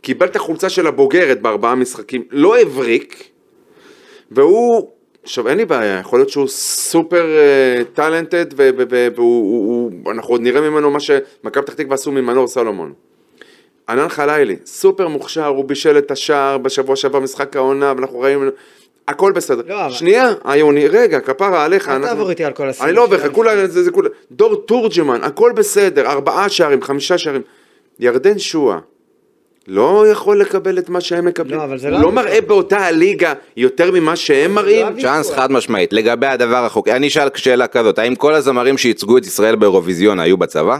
C: קיבל את החולצה של הבוגרת בארבעה משחקים, לא הבריק, והוא, עכשיו אין לי בעיה, יכול להיות שהוא סופר אה, טאלנטד, ואנחנו עוד נראה ממנו מה שמכבי פתח תקווה עשו ממנור סולומון. ענן חלילי, סופר מוכשר, הוא בישל את השער בשבוע שעבר משחק העונה, ואנחנו ראינו... הכל בסדר.
B: לא, אבל-
C: שנייה, היוני, רגע, כפרה עליך.
B: אל
C: אנחנו-
B: תעבור איתי על כל
C: אני
B: הסעיף
C: לא
B: של
C: עובר,
B: המשחק.
C: כולה, זה, זה כולה. דור תורג'מן, הכל בסדר, ארבעה שערים, חמישה שערים. ירדן שואה, לא יכול לקבל את מה שהם מקבלים.
B: לא, אבל זה
C: הוא
B: לא
C: לא
B: הוויכוח.
C: מראה באותה הליגה יותר ממה שהם מראים.
B: הוויכוח.
D: צ'אנס חד משמעית לגבי הדבר החוקי אני אשאל שאלה כזאת האם כל הזמרים שייצגו את ישראל באירוויזיון היו בצבא?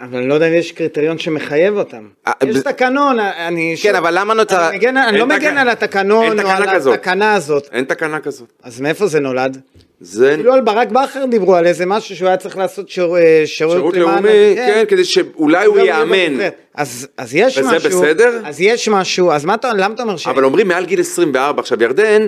B: אבל אני לא יודע אם יש קריטריון שמחייב אותם.
D: אה,
B: יש
D: ב-
B: תקנון, אני...
D: כן, אבל למה נוצר-
B: אני, מגן, אני
C: אין
B: לא
C: תק-
B: מגן על
C: אין
B: התקנון או
C: תקנה
B: על
C: כזאת.
B: התקנה הזאת,
C: אין תקנה כזאת.
B: אז מאיפה זה נולד?
C: זה
B: אפילו על ברק בכר דיברו על איזה משהו שהוא היה צריך לעשות שיר, אה, שירות,
C: שירות
B: למען- לא,
C: לאומי, כן, כדי שאולי הוא
B: גם יהיה
C: יאמן.
B: בנבחרת. אז, אז יש
C: וזה
B: משהו,
C: בסדר?
B: אז יש משהו, אז מה אתה, למה אתה אומר ש...
C: אבל אומרים מעל גיל 24, עכשיו ירדן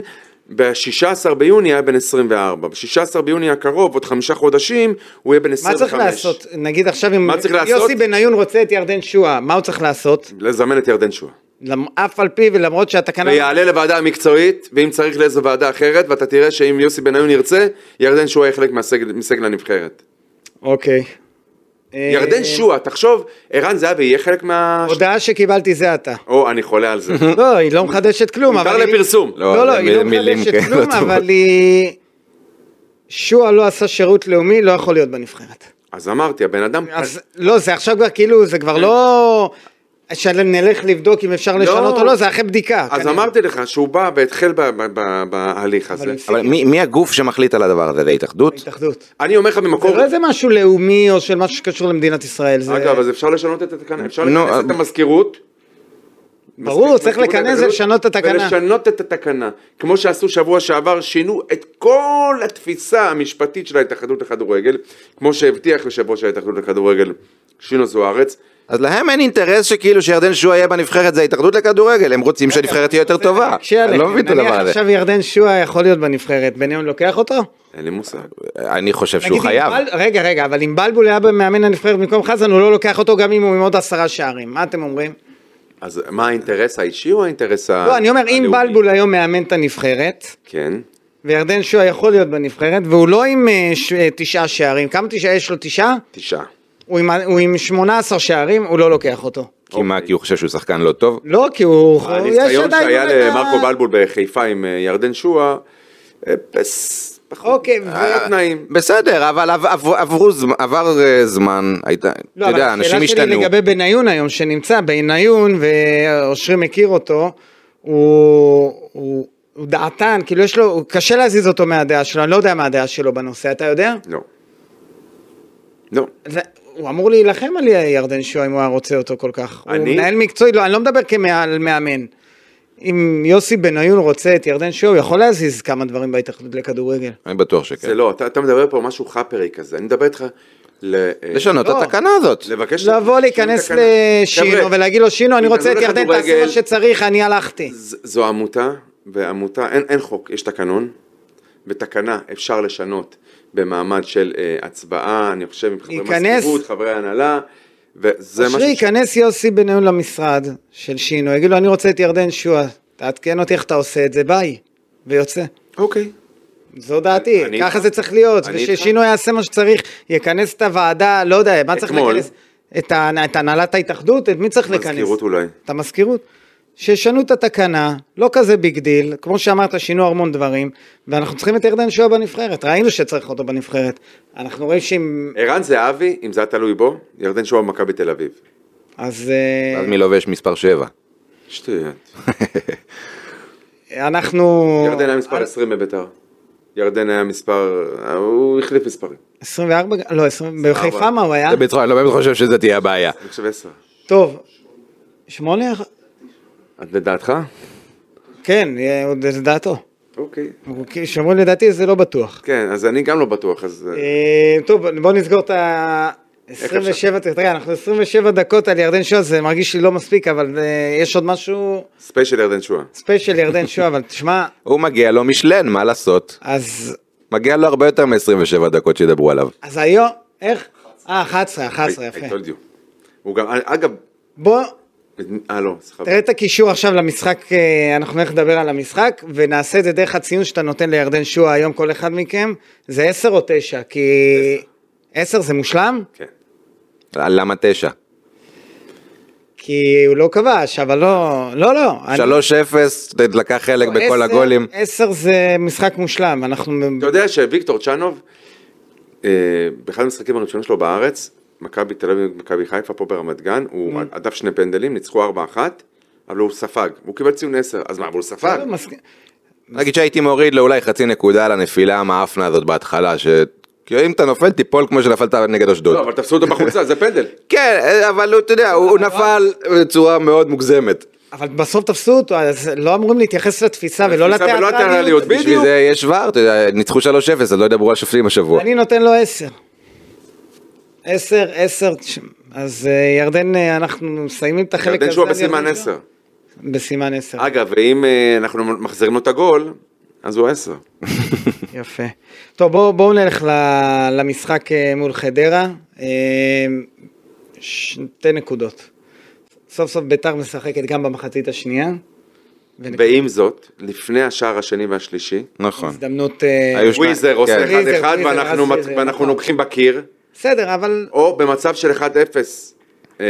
C: ב-16 ביוני היה בן 24, ב-16 ביוני הקרוב, עוד חמישה חודשים, הוא יהיה בן
B: מה
C: 25.
B: צריך לעשות? נגיד עכשיו אם
C: מה צריך לעשות?
B: יוסי בניון רוצה את ירדן שואה, מה הוא צריך לעשות?
C: לזמן את ירדן שואה.
B: למ- אף על פי ולמרות שהתקנה...
C: ויעלה לוועדה המקצועית, ואם צריך לאיזו ועדה אחרת, ואתה תראה שאם יוסי בניון ירצה, ירדן שואה יהיה חלק מהסגל מסגל הנבחרת.
B: אוקיי.
C: ירדן
B: אה,
C: שואה, תחשוב, ערן זהבי יהיה חלק מה...
B: הודעה שקיבלתי זה אתה.
C: או, אני חולה על זה.
B: לא, היא לא מחדשת כלום,
C: מותר
B: אבל... היא-
C: לפרסום.
B: לא, לא,
D: זה
B: היא לא
D: מילים,
B: מחדשת
D: כן, לא
B: כלום,
D: טוב.
B: אבל היא... שועה לא עשה שירות לאומי, לא יכול להיות בנבחרת.
C: אז אמרתי, הבן אדם...
B: אז לא, זה עכשיו כבר כאילו, זה כבר לא... שנלך לבדוק אם אפשר לשנות או לא, זה אחרי בדיקה.
C: אז
B: כנראה.
C: אמרתי לך שהוא בא והתחיל ב- ב- ב- בהליך הזה.
B: הפסיק.
D: אבל מי מי הגוף שמחליט על הדבר הזה? זה ההתאחדות?
B: התאחדות.
C: אני אומר לך
B: זה
C: ממקור...
B: לא איזה משהו לאומי או של משהו שקשור למדינת ישראל, זה
C: אגב, אז אפשר לשנות את התקנה, אפשר
D: נו,
C: לכנס את
D: אה,
C: המזכירות.
B: ברור,
C: מזכיר-
B: צריך
C: מזכירות
B: לכנס
C: ההתאחדות
B: ולשנות את התקנה.
C: ולשנות את התקנה. כמו שעשו שבוע שעבר, שינו את כל התפיסה המשפטית של ההתאחדות לכדורגל, כמו שהבטיח יושב ראש ההתאחדות לכדורגל, שינו זוארץ.
D: אז להם אין אינטרס שכאילו שירדן שועה יהיה בנבחרת זה ההתאחדות לכדורגל, הם
B: כן,
D: רוצים שהנבחרת תהיה יותר טובה.
B: מקשה
D: אני לא
B: עליכם.
D: מבין את הדבר
B: נניח
D: הזה.
B: עכשיו ירדן שועה יכול להיות בנבחרת, בניון לוקח אותו?
C: אין לי מושג.
D: אני חושב
B: נגיד
D: שהוא
B: אם
D: חייב.
B: בל- רגע, רגע, אבל אם בלבול היה במאמן הנבחרת במקום חזן, הוא לא לוקח אותו גם אם הוא עם עוד עשרה שערים. מה אתם אומרים?
C: אז מה האינטרס האישי או האינטרס ה...
B: לא, אני אומר, אם
C: הלאומי?
B: בלבול היום מאמן את הנבחרת,
C: כן.
B: וירדן שועה יכול להיות בנבחרת, והוא לא עם אה, ש- אה, תשעה שערים. כמה תשעה יש לו? תשעה?
C: תשעה.
B: הוא עם- הוא עם 18 שערים, הוא לא לוקח אותו.
D: כי מה, כי הוא חושב שהוא שחקן לא טוב?
B: לא, כי הוא... הוא- יש
C: הניסיון
B: עדיין לא
C: שהיה
B: באמת ה-
C: למרקו בלבול בחיפה עם אה, ירדן שואה, אה, פס... פחות-
B: אוקיי, ו-
C: היה תנאים.
D: בסדר, אבל עב- עב- עברו זמ- עבר אה, זמן, הייתה,
B: לא,
D: אתה יודע, אנשים
B: השאלה שלי
D: השתנו.
B: לגבי בניון היום, שנמצא בניון, ואושרי מכיר אותו, הוא, הוא, הוא דעתן, כאילו יש לו, הוא קשה להזיז אותו מהדעה שלו, אני לא יודע מה הדעה שלו בנושא, אתה יודע?
C: לא. לא.
B: זה, הוא אמור להילחם על ירדן שואה אם הוא היה רוצה אותו כל כך. אני? הוא
C: אני?
B: מנהל מקצועי, לא, אני לא מדבר כמעל מאמן. אם יוסי בניון רוצה את ירדן שואה, הוא יכול להזיז כמה דברים בהתאחדות לכדורגל.
D: אני בטוח
C: זה
D: שכן.
C: לא, אתה, אתה מדבר פה משהו חאפרי כזה, אני מדבר איתך ל... אה,
D: לשנות את
B: לא.
D: התקנה הזאת.
C: לבקש...
B: לבוא להיכנס
C: תקנה.
B: לשינו
C: חבר'ה,
B: ולהגיד לו, שינו, אני רוצה את
C: התאחדות
B: ירדן, תעשה
C: לכדורגל,
B: מה שצריך, אני הלכתי.
C: ז- זו עמותה, ועמותה, אין, אין חוק, יש תקנון, ותקנה אפשר לשנות במעמד של אה, הצבעה, אני חושב, עם חברי
B: ייכנס-
C: מזכירות, חברי הנהלה, וזה משהו...
B: אושרי, ייכנס יוסי בניון למשרד של שינו, יגיד לו, אני רוצה את ירדן שועה, תעדכן אותי איך אתה עושה את זה, ביי, ויוצא.
C: אוקיי.
B: זו דעתי,
C: אני
B: ככה
C: איתך.
B: זה צריך להיות,
C: אני איתך.
B: וששינו יעשה מה שצריך, יכנס את הוועדה, לא יודע, מה צריך
C: אתמול.
B: לכנס? את ה- את הנהלת ההתאחדות? את מי צריך לכנס?
C: מזכירות אולי.
B: את המזכירות. שישנו את התקנה, לא כזה ביג דיל, כמו שאמרת, שינו המון דברים, ואנחנו צריכים את ירדן שועה בנבחרת, ראינו שצריך אותו בנבחרת. אנחנו רואים שאם...
C: ערן זהבי, אם זה היה תלוי בו, ירדן שועה במכבי תל אביב.
B: אז... אה,
D: אז מי לובש מספר 7?
C: שטויות.
B: אנחנו...
C: ירדן היה
B: אה,
C: מספר 20 בביתר. ירדן היה מספר... אה, הוא החליף מספרים.
B: 24, לא, 20, בחיפה
C: 24.
B: מה הוא היה?
D: זה בצורה, אני לא באמת חושב שזה תהיה הבעיה.
C: אני חושב 10.
B: טוב, שמונה?
C: את לדעתך?
B: כן, אה, עוד לדעתו.
C: אוקיי.
B: הוא כאילו, שאומרים לדעתי זה לא בטוח.
C: כן, אז אני גם לא בטוח, אז... אה,
B: אה, טוב, בוא נסגור את ה...
C: אפשר?
B: 27, תראה, אנחנו 27 דקות על ירדן שואה, זה מרגיש לי לא מספיק, אבל אה, יש עוד משהו
C: ספיישל ירדן שועה.
B: ספיישל ירדן שואה, אבל תשמע,
D: הוא מגיע לו משלן, מה לעשות?
B: אז
D: מגיע לו הרבה יותר מ-27 דקות שידברו עליו.
B: אז היום, איך? אה, 11, 11,
C: I- I
B: יפה.
C: told you. הוא גם... אגב...
B: בוא,
C: אה, לא, סליחה.
B: תראה את הקישור עכשיו למשחק, אה, אנחנו נלך לדבר על המשחק, ונעשה את זה דרך הציון שאתה נותן לירדן שועה היום כל אחד מכם, זה 10 או 9, כי 10 זה מושלם?
C: כן.
D: למה 9?
B: כי הוא לא כבש, אבל לא, לא, לא.
D: 3-0,
B: אני-
D: לקח חלק בכל
B: עשר-
D: הגולים.
B: 10 זה משחק מושלם, אנחנו...
C: אתה יודע שוויקטור צ'אנוב, אה, באחד המשחקים הראשונים שלו בארץ, מכבי תל אביב, מכבי חיפה פה ברמת גן, הוא הדף שני פנדלים, ניצחו 4-1, אבל הוא ספג. הוא קיבל ציון 10, אז מה, אבל הוא ספג?
B: מסכים.
D: נגיד שהייתי מוריד לו אולי חצי נקודה על הנפילה המאפנה הזאת בהתחלה, ש... כי אם אתה נופל תיפול כמו שנפלת נגד אשדוד.
C: לא, אבל תפסו אותו בחולצה, זה פנדל.
D: כן, אבל הוא, אתה יודע, הוא הוא נפל בצורה מאוד מוגזמת.
B: אבל בסוף תפסו אותו, אז לא אמורים להתייחס לתפיסה ולא
C: לתפיסה ולא
B: לתיאטרליות.
C: לתיאטרליות, בדיוק.
D: בשביל זה יש ור, אתה יודע, ניצחו 3-0, אז לא ידברו על שופטים השבוע.
B: אני נותן לו 10. 10, 10, אז אה, ירדן, אה, אנחנו מסיימים את החלק הזה.
C: ירדן שועה
B: על ירדן
C: בסימן
B: שועה?
C: 10.
B: בסימן 10,
C: אגב, ואם אה, אנחנו מחזירים לו את הגול, אז הוא 10.
B: יפה. טוב, בואו בוא נלך ל- למשחק אה, מול חדרה. אה, שתי נקודות. סוף סוף ביתר משחקת גם במחצית השנייה. ונק-
C: ועם זאת, לפני השער השני והשלישי,
D: נכון.
B: הזדמנות... אה,
D: היו שניים,
C: וויזר עושה
D: כן.
C: 1-1
B: וויזר, וויזר,
C: ואנחנו
B: אז
C: מת-
B: וויזר,
C: ואנחנו
B: נכון.
C: נוגחים בקיר,
B: בסדר, אבל...
C: או במצב של 1-0, אה,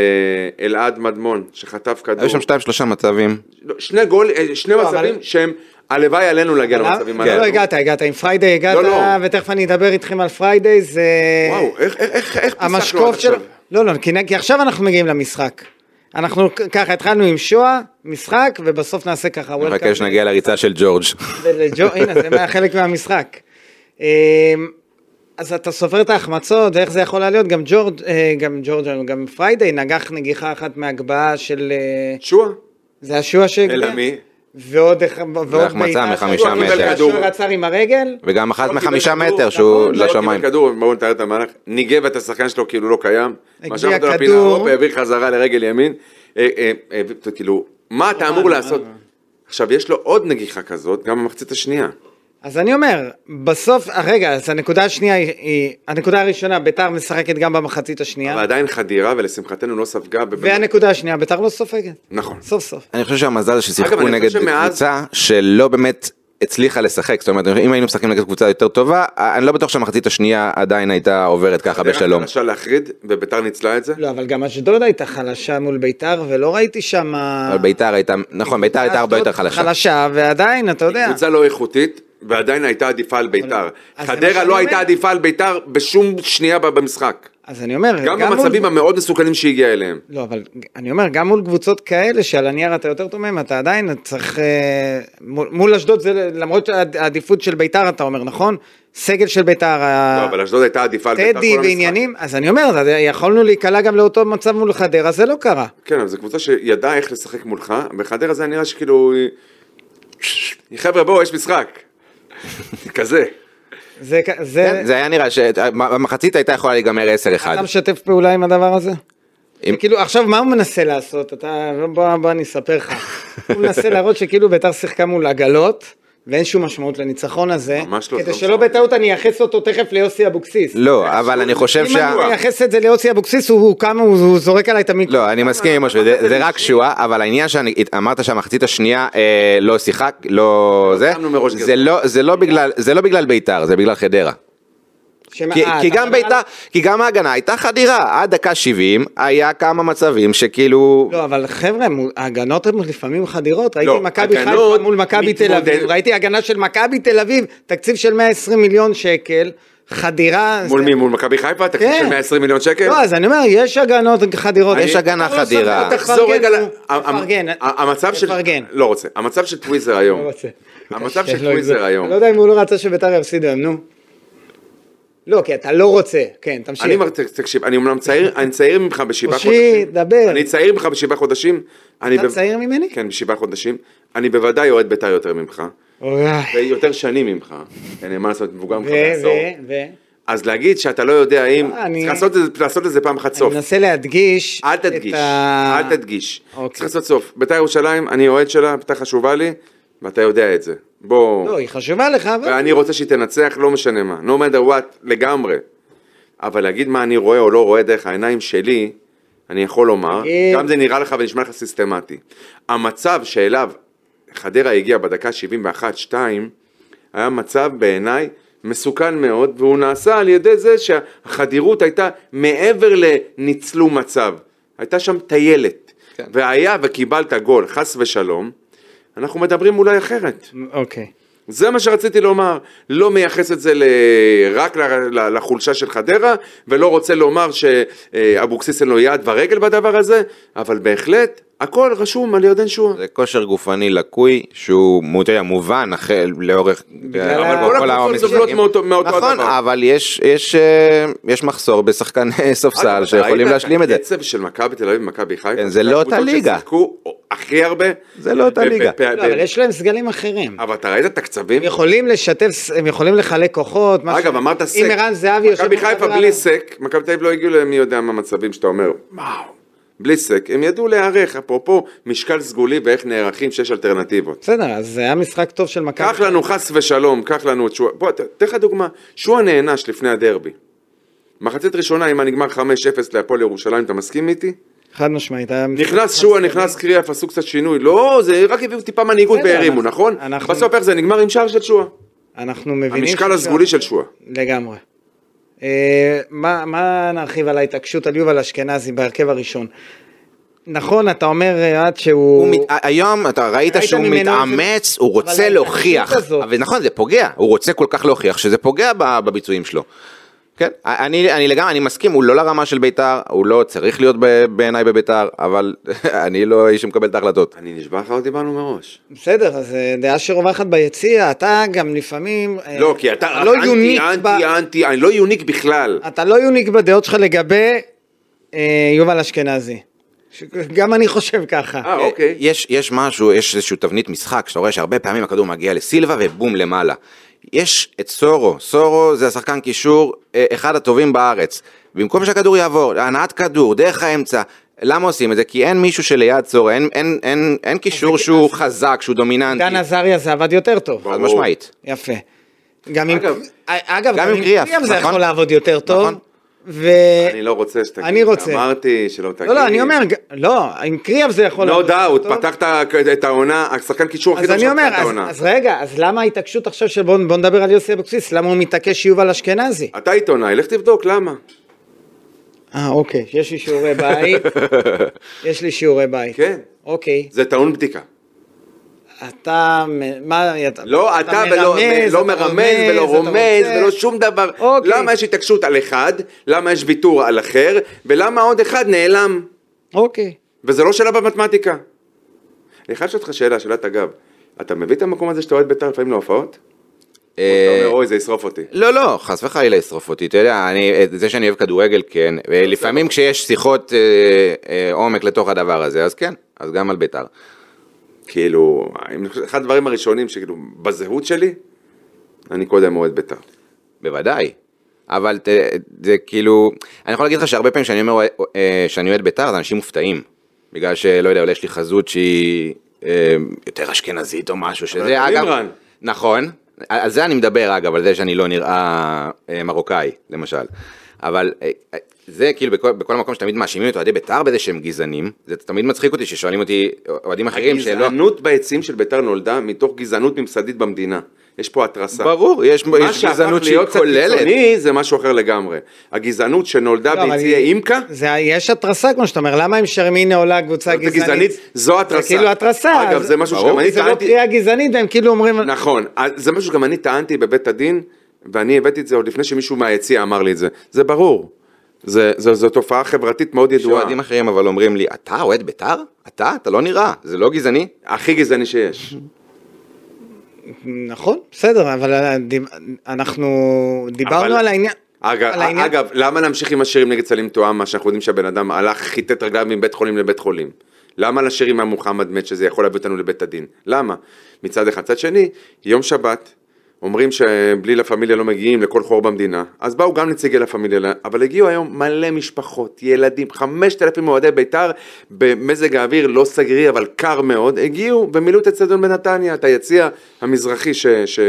C: אלעד מדמון שחטף כדור.
D: היו שם שתיים שלושה מצבים.
C: לא, שני גול, אה, שני
B: לא,
C: מצבים
B: אבל-
C: שהם, הלוואי עלינו להגיע
D: כן.
C: למצבים
B: לא
C: אוקיי, האלה.
B: הגעת, הגעת עם פריידיי, הגעת,
C: לא, לא.
B: ותכף אני אדבר איתכם על פריידיי, זה...
C: וואו, איך- איך איך- איך פיסקנו עד
B: המשקוף של...
C: עכשיו?
B: לא, לא, כי, כי עכשיו אנחנו מגיעים למשחק. אנחנו כ- ככה התחלנו עם שואה, משחק, ובסוף נעשה ככה. welcome
D: רק שנגיע לריצה של ג'ורג'.
B: ולג'ו, הנה, זה היה חלק מהמשחק. אמ, אז אתה סופר את ההחמצות, ואיך זה יכול היה להיות? גם ג'ורג', אה, גם ג'ורג', גם פריידי נגח נגיחה אחת מהגבהה של... אה,
C: שועה.
B: זה השוע שהגביע.
C: אלא מי?
B: ועוד אח- ועוד
D: והחמצה מחמישה
B: שהוא
D: מטר.
B: השוער עצר עם הרגל.
D: וגם אחת
C: לא
D: מחמישה
C: קיבל כדור,
D: מטר שהוא
C: נכון, לא
D: לשמיים.
C: קיבל כדור, בואו נתאר את המהלך. ניגב את השחקן שלו כאילו לא קיים.
B: הגיע
C: משך אותו
B: כדור.
C: לפינה האירופה, העביר חזרה לרגל ימין. אה, אה, אה, אה, כאילו, מה אתה
B: אה.
C: אמור לעשות? עכשיו, יש לו עוד נגיחה כזאת, גם במחצית השנייה.
B: אז אני אומר, בסוף, אה, רגע, אז הנקודה השנייה היא- היא, הנקודה הראשונה, ביתר משחקת גם במחצית השנייה,
C: ועדיין חדירה, ולשמחתנו לא ספגה. ב-
B: והנקודה השנייה, ביתר לא סופגת,
C: נכון.
B: סוף סוף.
D: אני חושב שהמזל זה
C: אגב,
D: ששיחקו
C: אני
D: נגד
C: חושב שמאז-
D: קבוצה שלא באמת הצליחה לשחק, זאת אומרת אם היינו משחקים נגד קבוצה יותר טובה, אני לא בטוח שהמחצית השנייה עדיין הייתה עוברת ככה בשלום.
C: חדרה להחריד, וביתר ניצלה את זה.
B: לא, אבל גם אשדוד הייתה חלשה מול ביתר, ולא ראיתי שם...
D: אבל ביתר הייתה, נכון, ביתר הייתה הרבה יותר חלשה.
B: חלשה, ועדיין, אתה יודע.
C: קבוצה לא איכותית, ועדיין הייתה עדיפה על ביתר.
B: אז זה מה
C: חדרה
B: שאני
C: לא הייתה
B: אומר.
C: עדיפה על ביתר בשום שנייה ב- במשחק.
B: אז אני אומר,
C: גם
B: מול-
C: במצבים המאוד מסוכנים שהיא הגיעה אליהם.
B: לא, אבל אני אומר, גם מול קבוצות כאלה שעל הנייר אתה יותר תומם, אתה עדיין צריך... אה, מול מול אשדוד, זה למרות העד- העדיפות של ביתר, אתה אומר, נכון? סגל של ביתר, ה-
C: לא, אבל אשדוד הייתה עדיפה על ביתר כל
B: אה, טדי
C: המשחק.
B: ועניינים, אז אני אומר, אז יכולנו להיקלע גם לאותו מצב מול חדרה, זה לא קרה.
C: כן, אבל זו קבוצה שידעה איך לשחק מולך, בחדרה זה היה נראה שכאילו... היא- חבר'ה, בואו, יש משחק. כזה.
B: זה... כ- זה...
D: כן, זה היה נראה שהמחצית הייתה יכולה להיגמר 10-1.
B: אתה משתף פעולה עם הדבר הזה?
D: אם-
B: כאילו עכשיו מה הוא מנסה לעשות? אתה, לא, בוא, בוא אני אספר לך. הוא מנסה להראות שכאילו ביתר שיחקה מול עגלות, ואין שום משמעות לניצחון הזה.
C: ממש לא,
B: כדי
C: זה
B: שלא
C: משמעות.
B: בטעות אני אייחס אותו תכף ליוסי אבוקסיס.
D: לא, אבל אני חושב
B: אם
D: שה...
B: אני מייחס את זה ליוסי אבוקסיס, הוא, הוא קם, הוא, הוא זורק עליי את המיקרופון.
D: לא, אני מסכים עם משהו, זה זה רק שואה, אבל העניין שאמרת שהמחצית השנייה אה, לא שיחק, לא זה,
C: שמנו מראש
D: זה
C: גרזן.
D: לא- זה לא בגלל- זה לא בגלל ביתר, זה בגלל חדרה.
B: שמה-
D: כי-
B: אה,
D: כי
B: אתה
D: גם
B: מדבר על-
D: ביתר, כי גם ההגנה הייתה חדירה, עד דקה 70 היה כמה מצבים שכאילו...
B: לא, אבל חבר'ה, מו- ההגנות הן לפעמים חדירות. ראיתי
C: לא,
B: מכבי חיפה
C: הגנות
B: מול מכבי תל
C: מתמודד-
B: אביב, ראיתי הגנה של מכבי תל אביב, תקציב של 120 מיליון שקל, חדירה.
C: מול
B: זה-
C: מי? מול מכבי חיפה? תקציב
B: כן.
C: של 120 מיליון שקל?
B: לא, אז אני אומר, יש הגנות חדירות.
D: יש הגנה
B: לא
D: חדירה.
B: סופר,
C: תחזור רגע ל...
B: תפרגן,
C: המ-
B: תפרגן.
C: ה- המצב של...
B: תפרגן.
C: לא רוצה. המצב של טוויזר היום.
B: לא רוצה.
C: המצב של
B: כן, לא
C: טוויזר
B: הגזם.
C: היום.
B: אני לא יודע אם הוא לא רצה שביתר יפסידו היום, נו. לא, כי אתה לא רוצה. כן, תמשיך.
C: אני אומר, תקשיב, אני אומנם צעיר, אני צעיר ממך בשבעה
B: אושי,
C: חודשים.
B: דבר.
C: אני צעיר ממך בשבעה חודשים. אני
B: אתה
C: ב-
B: צעיר ממני?
C: כן, בשבעה חודשים. אני בוודאי אוהד בית"ר יותר ממך.
B: אוי,
C: ויותר שנים ממך. אין מה לעשות, מבוגר
B: ו...
C: ממך
B: ו...
C: בעשור.
B: ו...
C: אז להגיד שאתה לא יודע אם...
B: לא, אני-
C: צריך לעשות את זה- לעשות את זה פעם אחת
B: אני
C: סוף.
B: מנסה להדגיש
C: אל תדגיש,
B: את ה...
C: אל תדגיש.
B: אוקיי.
C: צריך לעשות סוף. בית"ר ירושלים, אני אוהד שלה, בית"ר חשובה לי, ואתה יודע את זה. בוא...
B: לא, היא חשובה לך, אבל...
C: ואני רוצה שהיא תנצח, לא משנה מה. No matter what, לגמרי. אבל להגיד מה אני רואה או לא רואה דרך העיניים שלי, אני יכול לומר,
B: תגיד.
C: גם זה נראה לך ונשמע לך סיסטמטי. המצב שאליו חדרה הגיע בדקה 71-2, היה מצב בעיניי מסוכן מאוד, והוא נעשה על ידי זה שהחדירות הייתה מעבר לניצלו מצב. הייתה שם טיילת.
D: כן.
C: והיה וקיבלת גול, חס ושלום, אנחנו מדברים אולי אחרת.
B: אוקיי.
C: זה מה שרציתי לומר, לא מייחס את זה ל... רק ל... ל... לחולשה של חדרה, ולא רוצה לומר שאבוקסיס אין לו יד ורגל בדבר הזה, אבל בהחלט, הכל רשום על ירדן שועה.
D: זה כושר גופני לקוי שהוא מו- אתה יודע, מובן החל לאורך
B: ה-
D: אבל
B: אה, כל
D: בכל
C: הקבוצות
D: המשחקים.
C: סובלות מאותו- מאותו
D: נכון,
C: הדבר.
D: אבל יש יש אה, יש מחסור בשחקני ספסל שיכולים להשלים את זה.
C: הקצב של מכבי תל אביב ומכבי חיפה,
D: כן, זה לא אותה
C: הקבוצות
D: ליגה.
C: ששיחקו הכי הרבה.
D: זה לא אותה
C: ב- ב-
D: ליגה.
C: ב-
B: לא,
C: ב-
B: אבל יש להם סגלים אחרים.
C: אבל אתה ראית את הקצבים?
B: הם יכולים לשתף, הם יכולים לחלק כוחות. מה
C: אגב,
B: ש-
C: אמרת סק.
B: אם ערן זהבי יושב...
C: מכבי
B: בחדר
C: חיפה
B: עליו.
C: בלי סק, מכבי תל אביב לא הגיעו למי יודע מה מצבים שאתה אומר, וואו. בלי סק, הם ידעו להיערך, אפרופו משקל סגולי ואיך נערכים שיש אלטרנטיבות.
B: בסדר, אז זה היה משחק טוב של מכבי.
C: קח לנו חס ושלום, קח לנו את שועה. בוא, ת- תן לך דוגמה, שועה נענש לפני הדרבי. מחצית ראשונה, אם היה נגמר 5-0 להפועל ירושלים, אתה מסכים איתי?
B: חד משמעית. היה משחק
C: נכנס
B: חד
C: שועה,
B: צדדי.
C: נכנס קריאף, עשו קצת שינוי. לא, זה רק הביאו טיפה מנהיגות
B: בסדר,
C: והרימו,
B: אנחנו-
C: נכון?
B: אנחנו-
C: בסוף איך זה נגמר עם שער של שועה.
B: אנחנו מבינים...
C: המשקל
B: ששועה-
C: הסגולי של שועה.
B: לגמרי. אה, מה, מה נרחיב על ההתעקשות על יובל אשכנזי בהרכב הראשון? נכון, אתה אומר אה, עד שהוא...
D: הוא מת... היום אתה ראית
B: ראית
D: שהוא
B: ממנו איזה-
D: מתאמץ, הוא רוצה
B: אבל
D: להוכיח, נכון,
B: ההתעקשות הזאת-
D: ונכון זה פוגע, הוא רוצה כל כך להוכיח שזה פוגע ב- בביצועים שלו. כן, אני, אני לגמרי, אני מסכים, הוא לא לרמה של ביתר, הוא לא צריך להיות ב- בעיניי בביתר, אבל אני לא האיש שמקבל את ההחלטות.
C: אני נשבע לך, לא דיברנו מראש.
B: בסדר, אז אה, דעה שרווחת ביציע, אתה גם לפעמים... אה,
C: לא, כי אתה
B: לא
C: רק אנטי,
B: יוניק ב-
C: אנטי, אנטי, אני לא יוניק בכלל.
B: אתה לא יוניק בדעות שלך לגבי אה, יובל אשכנזי. ש- גם אני חושב ככה.
C: אה, אוקיי.
D: יש, יש משהו, יש איזושהי תבנית משחק, שאתה רואה שהרבה פעמים הכדור מגיע לסילבה ובום למעלה. יש את סורו, סורו זה השחקן קישור, אה, אחד הטובים בארץ. במקום שהכדור יעבור, הנעת כדור, דרך האמצע, למה עושים את זה? כי אין מישהו שליד סורו, אין, אין, אין, אין קישור שהוא חזק, שהוא דומיננטי.
B: דן עזריה זה עבד יותר טוב.
D: חד משמעית.
B: יפה. גם עם...
C: אגב,
B: אגב,
D: גם עם קריאף,
B: זה
D: נכון?
B: יכול לעבוד יותר טוב.
D: נכון.
B: ו...
C: אני לא רוצה שתגיד.
B: אני רוצה.
C: אמרתי שלא תגיד.
B: לא, לא, אני אומר, ג- לא, עם קריאף זה יכול
C: No
B: לעבוד יותר
C: doubt,
B: טוב.
C: פתח את ה- את העונה, השחקן קישור הכי
B: אז
C: טוב
B: אני
C: שלך
B: אומר,
C: את
B: אז-
C: העונה.
B: אז רגע, אז למה ההתעקשות עכשיו של בואו נדבר על יוסי אבוקסיס? למה הוא מתעקש שיובל אשכנזי?
C: אתה עיתונאי, לך תבדוק למה.
B: אה, אוקיי, יש לי שיעורי בית. יש לי שיעורי בית.
C: כן.
B: אוקיי.
C: זה טעון בדיקה.
B: אתה, מ- מה, אתה,
C: לא אתה ולא
B: אתה
C: לא מרמז ולא
B: אתה
C: רומז
B: רוצה.
C: ולא שום דבר.
B: אוקיי.
C: למה יש התעקשות על אחד, למה יש ויתור על אחר, ולמה עוד אחד נעלם.
B: אוקיי.
C: וזה לא שאלה במתמטיקה. אני חייב לשאול אותך שאלה, שאלת אגב. אתה מביא את המקום הזה שאתה אוהד בית"ר לפעמים להופעות? אתה
D: אה,
C: אומר, אוי, זה ישרוף אותי.
D: לא, לא, חס וחלילה ישרוף אותי, אתה יודע, אני, את זה שאני אוהב כדורגל, כן, ולפעמים כשיש שיחות אה, אה, עומק לתוך הדבר הזה, אז כן, אז גם על בית"ר.
C: כאילו, אני חושב- אחד הדברים הראשונים שכאילו, בזהות שלי, אני קודם אוהד בית"ר.
B: כן,
D: בוודאי. אבל ת, זה כאילו, אני יכול להגיד לך שהרבה פעמים כשאני אומר אה, שאני אוהד בית"ר, אז אנשים מופתעים. בגלל שלא יודע, אולי יש לי חזות שהיא אה, יותר אשכנזית או משהו
C: אתה
D: שזה, אגב,
C: ליברן.
D: נכון, על זה אני מדבר אגב, על זה שאני לא נראה אה, מרוקאי, למשל. אבל אה, אה, זה כאילו בכל, בכל מקום שתמיד מאשימים את אוהדי בית"ר בזה שהם גזענים, זה תמיד מצחיק אותי ששואלים אותי אוהדים אחרים שלא...
C: הגזענות בעצים של בית"ר נולדה מתוך גזענות ממסדית במדינה. יש פה התרסה.
D: ברור, יש,
C: מה
D: יש
C: שהפך
D: גזענות שהיא
C: להיות קצת
D: כוללת.
C: קיצוני, זה משהו אחר לגמרי. הגזענות שנולדה
B: לא, אבל
C: ביציעי
B: היא-
C: אימקה,
B: זה, יש התרסה, כמו שאתה אומר, למה אם שרמינה עולה קבוצה
C: זאת
B: גזענית?
C: גזענית, זו התרסה.
B: זה כאילו התרסה.
C: אגב,
B: אז-
C: זה משהו
B: ברור.
C: שגם אני
B: זה לא
C: טענתי-
B: קריאה גזענית, והם כאילו אומרים...
C: נכון, אז זה משהו שגם אני טענתי בבית הדין, ואני הבאתי את זה עוד לפני שמישהו מהיציע אמר לי את זה. זה ברור. זה, זה, זו תופעה חברתית מאוד ידועה.
D: שאוהדים אחרים אבל אומרים לי, אתה אוהד בית"ר? אתה? אתה לא נראה, זה לא גזעני?
C: הכי גזעני שיש.
B: נכון, בסדר, אבל הדיב- אנחנו דיברנו
C: אבל-
B: על העניין...
C: אגב,
B: על העניין-
C: אגב, למה להמשיך עם השירים נגד סלים תואמה, שאנחנו יודעים שהבן אדם הלך, חיטט רגליו מבית חולים לבית חולים? למה לשיר עם המוחמד מת שזה יכול להביא אותנו לבית הדין? למה? מצד אחד. מצד שני, יום שבת, אומרים שבלי לה פמיליה לא מגיעים לכל חור במדינה, אז באו גם נציגי לה פמיליה, אבל הגיעו היום מלא משפחות, ילדים, 5,000 אוהדי בית"ר, במזג האוויר לא סגרי אבל קר מאוד, הגיעו ומילאו את הצדון בנתניה, את היציע המזרחי ש... ש...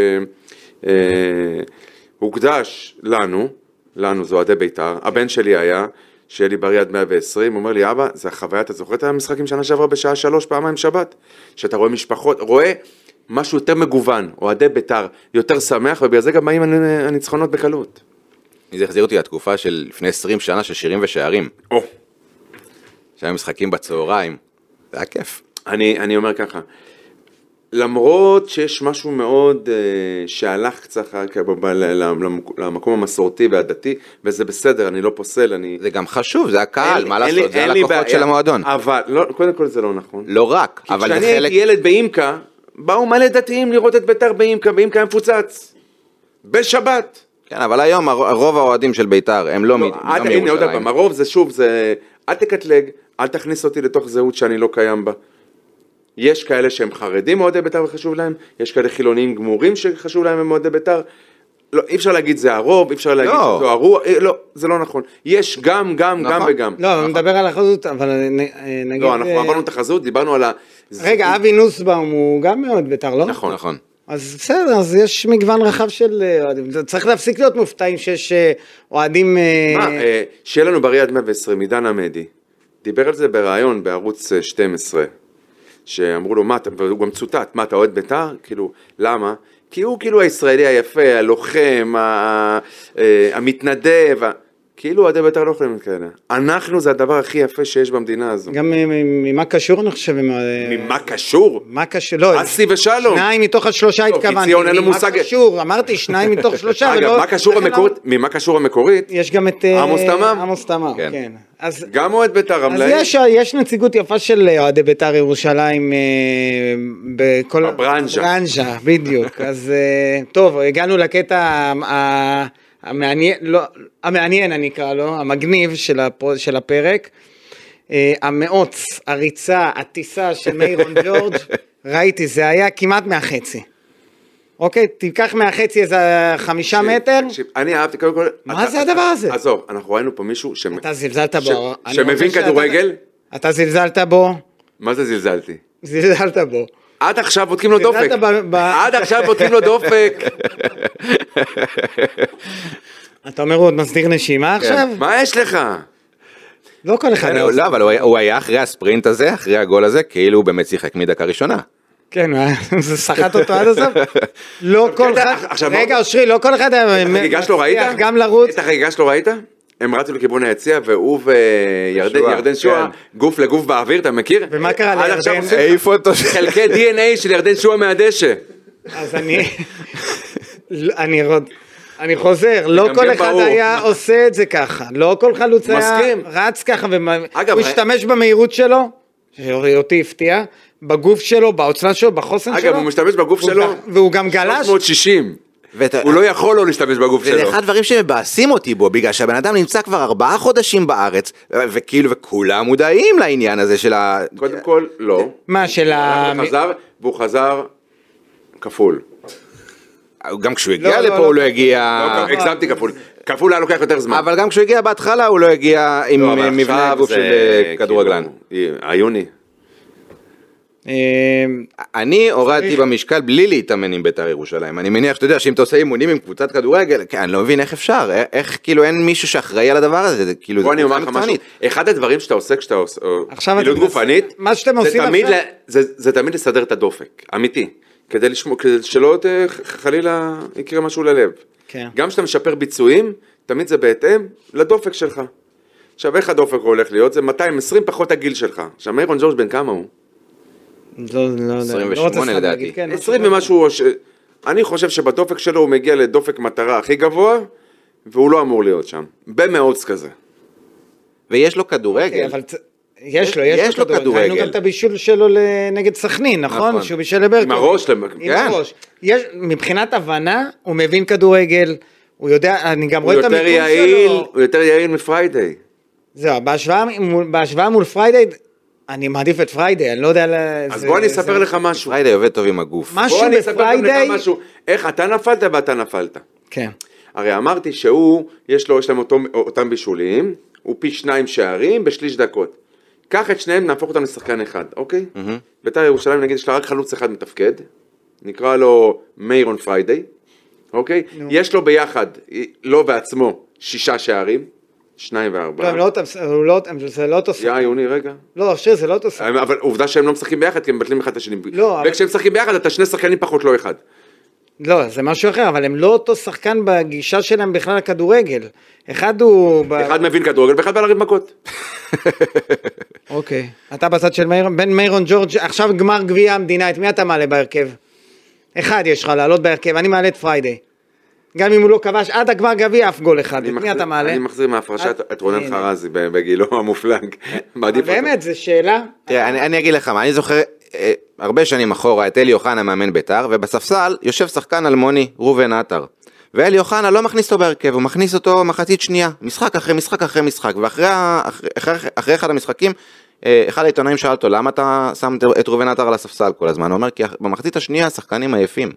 C: אה, הוקדש לנו, לנו זה אוהדי בית"ר, הבן שלי היה, שיהיה לי בריא עד 120, הוא אומר לי, אבא, זה החוויה, אתה זוכר את המשחקים שנה שעברה בשעה שלוש פעמיים שבת? שאתה רואה משפחות, רואה משהו יותר מגוון, אוהדי בית"ר, יותר שמח, ובגלל זה גם באים הנ- הניצחונות בקלות.
D: זה החזיר אותי לתקופה של לפני 20 שנה של שירים ושערים,
C: או,
D: שהיו משחקים בצהריים, זה היה כיף.
C: אני, אני אומר ככה, למרות שיש משהו מאוד אה, שהלך קצת אחר כך ב- ב- ל- למק- למקום המסורתי והדתי, וזה בסדר, אני לא פוסל, אני...
D: זה גם חשוב, זה הקהל,
C: אין-
D: מה
C: אין לי-
D: לעשות, זה
C: אין לי
D: הלקוחות
C: בעיה.
D: של המועדון.
C: אבל, לא, קודם כל זה לא נכון.
D: לא רק,
C: כי
D: אבל
C: כשאני
D: זה חלק...
C: הייתי ילד באימקה, באו מלא דתיים לראות את ביתר באימקה, באימקה היה מפוצץ. בשבת.
D: כן, אבל היום הר- רוב האוהדים של בית"ר הם לא מ-
C: לא,
D: לא
C: אל- הנה עוד
D: מירושלים.
C: פעם, הרוב זה שוב, זה... אל תקטלג, אל תכניס אותי לתוך זהות שאני לא קיים בה. יש כאלה שהם חרדים אוהדי ביתר וחשוב להם, יש כאלה חילונים גמורים שחשוב להם הם אוהדי ביתר. לא, אי אפשר להגיד זה הרוב, אי אפשר להגיד
D: לא.
C: שזו הרוח, אה, לא, זה לא נכון. יש גם, גם, גם
D: נכון.
C: וגם.
B: לא, אבל נדבר על החזות, אבל נ- אה, נגיד...
C: לא, אנחנו
B: אה,
C: עברנו את החזות, דיברנו על ה... אה,
B: רגע, אבי נוסבאום הוא גם מאוד בית"ר, לא?
D: נכון, נכון.
B: אז בסדר, אז יש מגוון רחב של אה, אוהדים. צריך להפסיק להיות מופתעים שיש אה, אוהדים... אה,
C: מה, אה, שיהיה לנו בריא עד 120, עידן עמדי, דיבר על זה בריאיון בערוץ אה, 12, שאמרו לו, מה, אתה- והוא גם צוטט, מה, אתה אוהד בית"ר? כאילו, למה? כי הוא כאילו הישראלי היפה, הלוחם, ה- ה- אה, המתנדב, ה- כאילו אוהדי בית"ר לא יכולים להיות כאלה. אנחנו זה הדבר הכי יפה שיש במדינה הזו.
B: גם אה, ממה קשור אני חושב, עם אה, ה-
C: ממה קשור?
B: מה קשור, לא,
C: אסי ושלום.
B: שניים מתוך השלושה
C: טוב, כי
B: התכוונתי,
C: ציון אין לו
B: ממה
C: מושג-
B: קשור, אמרתי שניים מתוך שלושה,
C: אגב,
B: ולא-
C: מה קשור
B: לא- לכן
C: המקורית?
B: אמרתי-
C: ממה קשור המקורית?
B: יש גם את אה,
C: עמוס תמם?
B: עמוס תמם,
D: כן.
B: כן, אז
C: גם אוהד בית"ר
B: אז
C: רמלאי?
B: יש, יש נציגות יפה של אוהדי בית"ר ירושלים אה, בכל...
C: בברנז'ה.
B: ברנז'ה, בדיוק. אז אה, טוב, הגענו לקטע ה- ה- המעניין, לא, המעניין אני אקרא לו, המגניב של, הפו, של הפרק. אה, המאוץ, הריצה, הטיסה של מאירון ג'ורג', ראיתי, זה היה כמעט מהחצי. אוקיי, תיקח מהחצי איזה חמישה
C: תקשיב,
B: מטר.
C: תקשיב, אני אהבתי קודם כל...
B: מה
C: אתה-
B: זה הדבר הזה?
C: עזוב, אנחנו ראינו פה מישהו ש-
B: אתה זלזלת
C: ש-
B: בו. אני רוצה
C: שמבין
B: שאתה-
C: כדורגל?
B: אתה זלזלת בו,
C: מה זה זלזלתי?
B: זלזלת בו.
C: עד עכשיו בודקים לו דופק.
B: זלזלת ב- ב-
C: עד עכשיו בודקים לו דופק.
B: אתה אומר הוא עוד מסדיר נשימה
C: כן.
B: עכשיו?
C: מה יש לך?
B: לא כל
C: אה,
B: אחד.
D: לא, לא, אבל הוא היה- הוא היה אחרי הספרינט הזה, אחרי הגול הזה, כאילו הוא באמת שיחק מדקה ראשונה.
B: כן, הוא היה- זה סחט אותו עד הסוף? לא כל
C: קטע,
B: אחד.
C: אוקיי, עכשיו,
B: רגע,
C: מה-
B: אושרי, לא כל אחד היה...
C: החגיגה שלו ראית?
B: מצליח גם לרוץ.
C: את החגיגה שלו ראית? הם רצו לכיוון היציע והוא וירדן
D: שועה,
C: ירדן שועה, גוף לגוף באוויר, אתה מכיר?
B: כן. ומה קרה
C: עד עכשיו
B: לירדן?
C: עושים
D: העיף אותו.
C: חלקי DNA של ירדן שועה מהדשא.
B: אז אני... לא, אני רוד- אני חוזר, לא
C: גם
B: כל
C: כן
B: אחד
C: ברור.
B: היה עושה את זה ככה. לא כל חלוץ היה
C: מסכים.
B: רץ ככה. ומה-
C: אגב, אה-
B: הוא
C: ה-
B: השתמש במהירות שלו, שאותי הפתיע, בגוף שלו, בעוצמה שלו, בחוסן שלו.
C: אגב, הוא משתמש בגוף
B: והוא
C: שלו.
B: גם- והוא גם גלש.
C: 360.
D: ואתה-
C: הוא לא יכול לא להשתמש בגוף
D: וזה
C: שלו.
D: אחד הדברים שמבאסים אותי בו, בגלל שהבן אדם נמצא כבר ארבעה חודשים בארץ, וכאילו, וכולם מודעים לעניין הזה של ה...
C: קודם כל, לא.
B: מה, של
D: אה,
B: ה...
C: הוא חזר, והוא חזר כפול.
D: גם כשהוא
B: לא,
D: הגיע
B: לא,
D: לפה
B: לא.
D: הוא לא הגיע...
C: לא, הגזמתי כפול. כפול היה לוקח יותר זמן.
D: אבל גם כשהוא הגיע בהתחלה הוא לא הגיע עם
C: לא, אבל
D: אה, מבנה
C: עכשיו
D: הגוף
C: זה
D: של אה,
C: כאילו,
D: כדורגלן.
C: אה, עיוני.
B: אה,
D: אני הורדתי במשקל בלי להתאמן עם בית"ר ירושלים. אני מניח שאתה יודע שאם אתה עושה אימונים עם קבוצת כדורגל, כן, אני לא מבין איך אפשר, א- איך כאילו אין מישהו שאחראי על הדבר הזה, זה כאילו
C: בוא אני אומר
D: קבוצה
C: לך משהו.
D: מקצוענית.
C: אחד הדברים שאתה עושה כשאתה עושה
B: עכשיו
C: פעילות
B: אתם-
C: גופנית,
B: מה שאתם
C: זה
B: עושים
C: תמיד
B: עכשיו-
C: ל- זה זה תמיד לסדר את הדופק, אמיתי. כדי לשמור, כדי שלא ת- חלילה יקרה משהו ללב.
B: כן.
C: גם כשאתה משפר ביצועים, תמיד זה בהתאם לדופק שלך. עכשיו איך הדופק הולך להיות? זה 220 פחות הגיל שלך. עכשיו מאירון ג'ורג' בן כמה הוא?
B: לא, לא יודע.
D: 28
B: לא רוצה סתם
D: לדעתי.
B: להגיד, כן,
C: 20
B: משהו
C: ומשהו, או ש- אני חושב שבדופק שלו הוא מגיע לדופק מטרה הכי גבוה, והוא לא אמור להיות שם. במאוץ כזה.
B: כן,
D: ויש לו
B: כזה.
C: אוקיי,
D: כדורגל.
B: אוקיי,
C: כן.
B: אבל צ- יש לו, יש לו כדורגל. ראינו גם את הבישול שלו ל- נגד סכנין, נכון?
D: נכון.
B: שהוא בישל לברקו.
C: עם הראש, למ-
B: עם
C: כן.
B: הראש. יש- מבחינת הבנה, הוא מבין כדורגל, הוא יודע, אני גם
C: הוא
B: רואה את
C: יותר
B: המיקום
C: יעיל,
B: שלו.
C: הוא יותר יעיל מפריידיי.
B: זהו, בהשוואה מול- בהשוואה מול פריידי, אני מעדיף את פריידי, אני לא יודע... ל-
C: אז
B: זה-
C: בוא אני
B: זה-
C: אספר לך משהו.
D: פריידי עובד טוב עם הגוף.
B: משהו
C: בוא אני אספר גם לך
B: בפריידי...
C: משהו. איך אתה נפלת ואתה נפלת.
B: כן.
C: הרי אמרתי שהוא, יש לו, יש להם אותו, אותם בישולים, הוא פי שניים שערים בשליש דקות. קח את שניהם, נהפוך אותם לשחקן אחד, אוקיי? בית"ר ירושלים נגיד יש לה רק חלוץ אחד מתפקד, נקרא לו מאירון פריידי, אוקיי? יש לו ביחד, אה, לו ועצמו, שישה שערים, שניים
B: לא,
C: וארבעה.
B: הם לא אותם, הוא לא אותם, זה לא אותו
C: יא
B: שחקן.
C: יוני, רגע.
B: לא, שיר, זה לא אותו שחקן.
C: אבל עובדה שהם לא משחקים ביחד כי הם מבטלים אחד את השני.
B: לא, אבל-
C: וכשהם משחקים ביחד אתה שני שחקנים פחות לא אחד.
B: לא, זה משהו אחר, אבל הם לא אותו שחקן בגישה שלהם בכלל לכדורגל. אחד הוא... ב...
C: אחד מבין כדורגל ואחד בא לריב מכות.
B: אוקיי. אתה בצד של מאירון, בין מאירון ג'ורג', עכשיו גמר גביע המדינה, את מי אתה מעלה בהרכב? אחד יש לך לעלות בהרכב, אני מעלה את פריידי. גם אם הוא לא כבש עד הגמר גביע אף גול אחד, את
C: אני
B: מי
C: מחזיר-
B: אתה מעלה? אה,
C: אני מחזיר מההפרשה את- את רונן
B: הנה. אה,
C: חרזי ב- בגילו המופלג. מעדיף אותו.
B: באמת, זו שאלה.
D: תראה, אני, אני אגיד לך מה, אני זוכר אה, הרבה שנים אחורה את אלי אוחנה מאמן בית"ר, ובספסל יושב שחקן אלמוני, ראובן עטר. ואלי אוחנה לא מכניס אותו בהרכב, הוא מכניס אותו מחצית שנייה, משחק אחרי משחק אחרי משחק, ואחרי ה- אחרי, אחרי, אחרי אחד המשחקים, אה, אחד העיתונאים שאל אותו, למה אתה שם את- את ראובן עטר על הספסל כל הזמן? הוא אומר, כי במחצית השנייה השחקנים עייפים.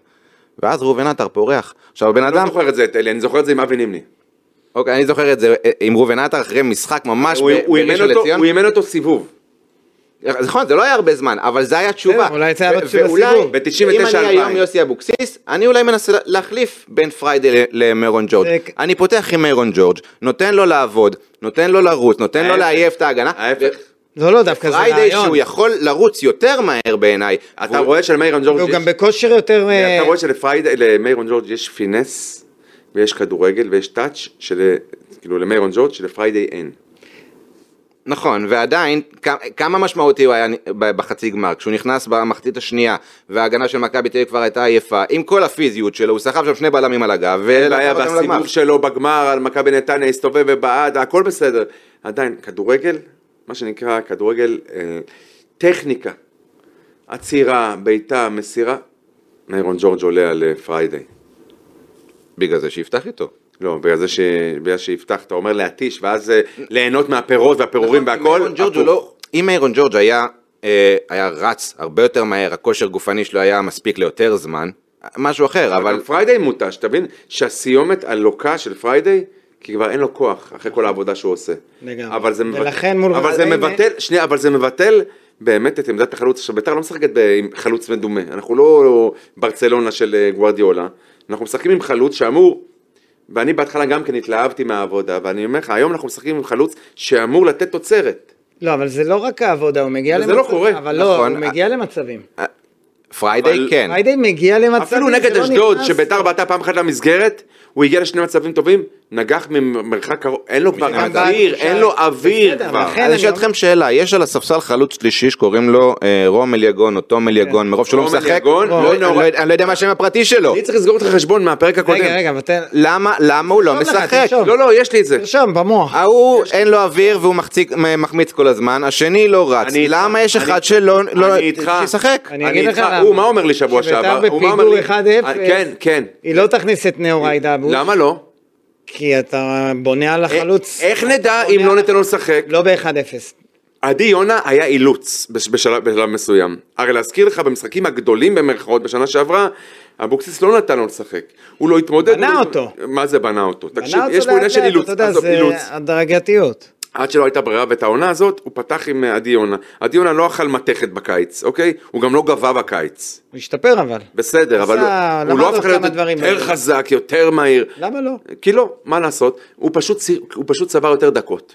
D: ואז ראובן עטר פורח. עכשיו הבן
C: אני לא
D: אדם,
C: זוכר את זה את אלי, אני זוכר את זה עם אבי נימני.
D: אוקיי, אני זוכר את זה אה, עם ראובן עטר אחרי משחק ממש
C: הוא-
D: ב-
C: הוא אימן
D: בראשון
C: אותו-
D: לציון.
C: הוא אימן אותו סיבוב.
D: אז נכון, זה לא היה הרבה זמן, אבל זה היה תשובה.
B: בסדר, כן, אולי זה היה
D: ו-
B: בתשובה
D: ואולי,
B: סיבוב.
C: ב-99
D: אם אני היום
C: אלפיים.
D: יוסי אבוקסיס, אני אולי מנסה לה- להחליף בין פריידי ל- למרון ג'ורג'.
B: זה-
D: אני פותח עם מרון ג'ורג', נותן לו לעבוד, נותן לו לרוץ, נותן לו
C: ההפך.
D: לעייף את ההגנה.
C: ההפך.
B: לא, לא, דווקא זה
D: פריידי
B: רעיון.
D: שהוא יכול לרוץ יותר מהר בעיניי.
C: אתה רואה שלמאירון ג'ורג'
B: והוא
C: יש-
B: גם בכושר יותר... אה,
C: אתה רואה שלפריידי- למאירון ג'ורג' יש פינס, ויש כדורגל ויש טאץ' של, כאילו למיירון ג'ורג' שלפריידי אין.
D: נכון, ועדיין, כ- כמה משמעותי הוא היה ב- בחצי גמר, כשהוא נכנס במחצית השנייה, וההגנה של מכבי תל אביב כבר הייתה עייפה, עם כל הפיזיות שלו, הוא סחב שם שני בלמים על הגב,
C: זה היה
D: ולקח אותם לגמר.
C: והסיבוב שלו בגמר על מכבי נתניה הסתובב ובעד, הכל בסדר. עדיין, כדורגל, מה שנקרא כדורגל, אה, טכניקה, עצירה, בעיטה, מסירה, מיירון ג'ורג' עולה על אה, פריידי.
D: בגלל זה שיפתח איתו.
C: לא, בגלל זה ש... בגלל שיפתח, אתה אומר להתיש, ואז אה, ליהנות מהפירות והפירורים
D: נכון,
C: והכל.
D: אם איירון ג'ורג' הוא
C: הפוך.
D: לא- אם איירון ג'ורג' היה אה, היה רץ הרבה יותר מהר, הכושר גופני שלו היה מספיק ליותר זמן, משהו אחר,
C: אבל
D: אבל...
C: פריידי מותש, תבין שהסיומת הלוקה של פריידי, כי כבר אין לו כוח אחרי כל העבודה שהוא עושה.
B: לגמרי.
C: אבל זה מבט-
B: ולכן מול
C: אבל זה
B: ריינה-
C: מבטל, שנייה, אבל זה מבטל באמת את עמדת החלוץ. עכשיו ביתר לא משחקת ב- עם חלוץ מדומה, אנחנו לא ברצלונה של אה, גוורדיולה, אנחנו משחקים עם חלוץ שאמור, ואני בהתחלה גם כן התלהבתי מהעבודה, ואני אומר לך, היום אנחנו משחקים עם חלוץ שאמור לתת תוצרת.
B: לא, אבל זה לא רק העבודה, הוא מגיע
C: וזה
B: למצבים.
C: לא קורה.
B: אבל לא,
D: נכון.
B: הוא מגיע למצבים.
D: פריידי
C: אבל-
D: כן.
B: היידי מגיע למצבים.
C: אפילו
B: זה
C: נגד
B: לא
C: אשדוד,
B: נכנס.
C: שביתר בעטה פעם אחת למסגרת, הוא הגיע לשני מצבים טובים, נגח ממרחק קרוב, אין לו כבר
D: גם
C: אוויר,
B: בעט,
C: אין לו
B: בסדר,
C: אוויר
B: אבל
C: כבר.
B: לכן
D: אז
B: אני
D: אני אשאל
B: אומר-
D: אתכם שאלה, יש על הספסל חלוץ שלישי שקוראים לו אה, רום אליגון או תום אליגון, מרוב שהוא לא
C: כן. רום
D: משחק,
C: אליגון,
D: לא-
C: לא
D: אני
C: נורא.
D: לא יודע- אני לא יודע מה השם הפרטי שלו.
C: אני צריך לסגור את החשבון מהפרק הקודם.
B: רגע, רגע, אבל תן...
D: למה למה הוא לא
B: תרשום לך,
D: משחק?
B: תרשום.
C: לא, לא, יש לי את זה.
B: תרשום,
C: אה,
B: במוח.
D: ההוא אין לו אוויר והוא מחציק- מ- מחמיץ כל הזמן, השני לא רץ.
C: אני איתך,
D: למה יש
C: אני-
D: אחד שלא לא-
C: אני איתך.
D: שישחק?
B: אני אגיד
C: איתך.
B: לך למה.
C: הוא, מה אומר לי שבוע
B: שביתר
C: שעבר? הוא, מה אומר
B: בפיגור
C: לי?
B: 1-0.
C: אה, כן, כן.
B: היא לא תכניס את נאורי דאבו.
C: אה, למה לא?
B: כי אתה בונה על החלוץ.
C: אה, איך נדע
B: אתה
C: אם
B: בונה
C: לא
B: על-
C: ניתן לו לשחק?
B: לא ב-1-0.
C: עדי יונה היה אילוץ בש- בשלב בשלב מסוים. הרי להזכיר לך, במשחקים הגדולים במרכאות בשנה שעברה, אבוקסיס לא נתן לו לשחק. הוא לא התמודד.
B: בנה
C: הוא-
B: אותו.
C: מה זה בנה אותו? תקשיב,
B: בנה אותו
C: יש פה עניין של
B: לאט-לאט,
C: אילוץ.
B: אתה יודע,
C: עזוב,
B: זה
C: אילוץ.
B: הדרגתיות.
C: עד שלא הייתה ברירה ואת העונה הזאת, הוא פתח עם אה, עדי יונה. עדי יונה לא אכל מתכת בקיץ, אוקיי? הוא גם לא גבה בקיץ.
B: הוא השתפר אבל.
C: בסדר, אבל
B: עשה-
C: הוא-
B: למד
C: הוא לא
B: עוד
C: הפך
B: כמה
C: להיות
B: דברים
C: יותר
B: בדרך.
C: חזק, יותר מהיר.
B: למה לא?
C: כי לא, מה לעשות, הוא פשוט, צי- הוא פשוט צבר יותר דקות.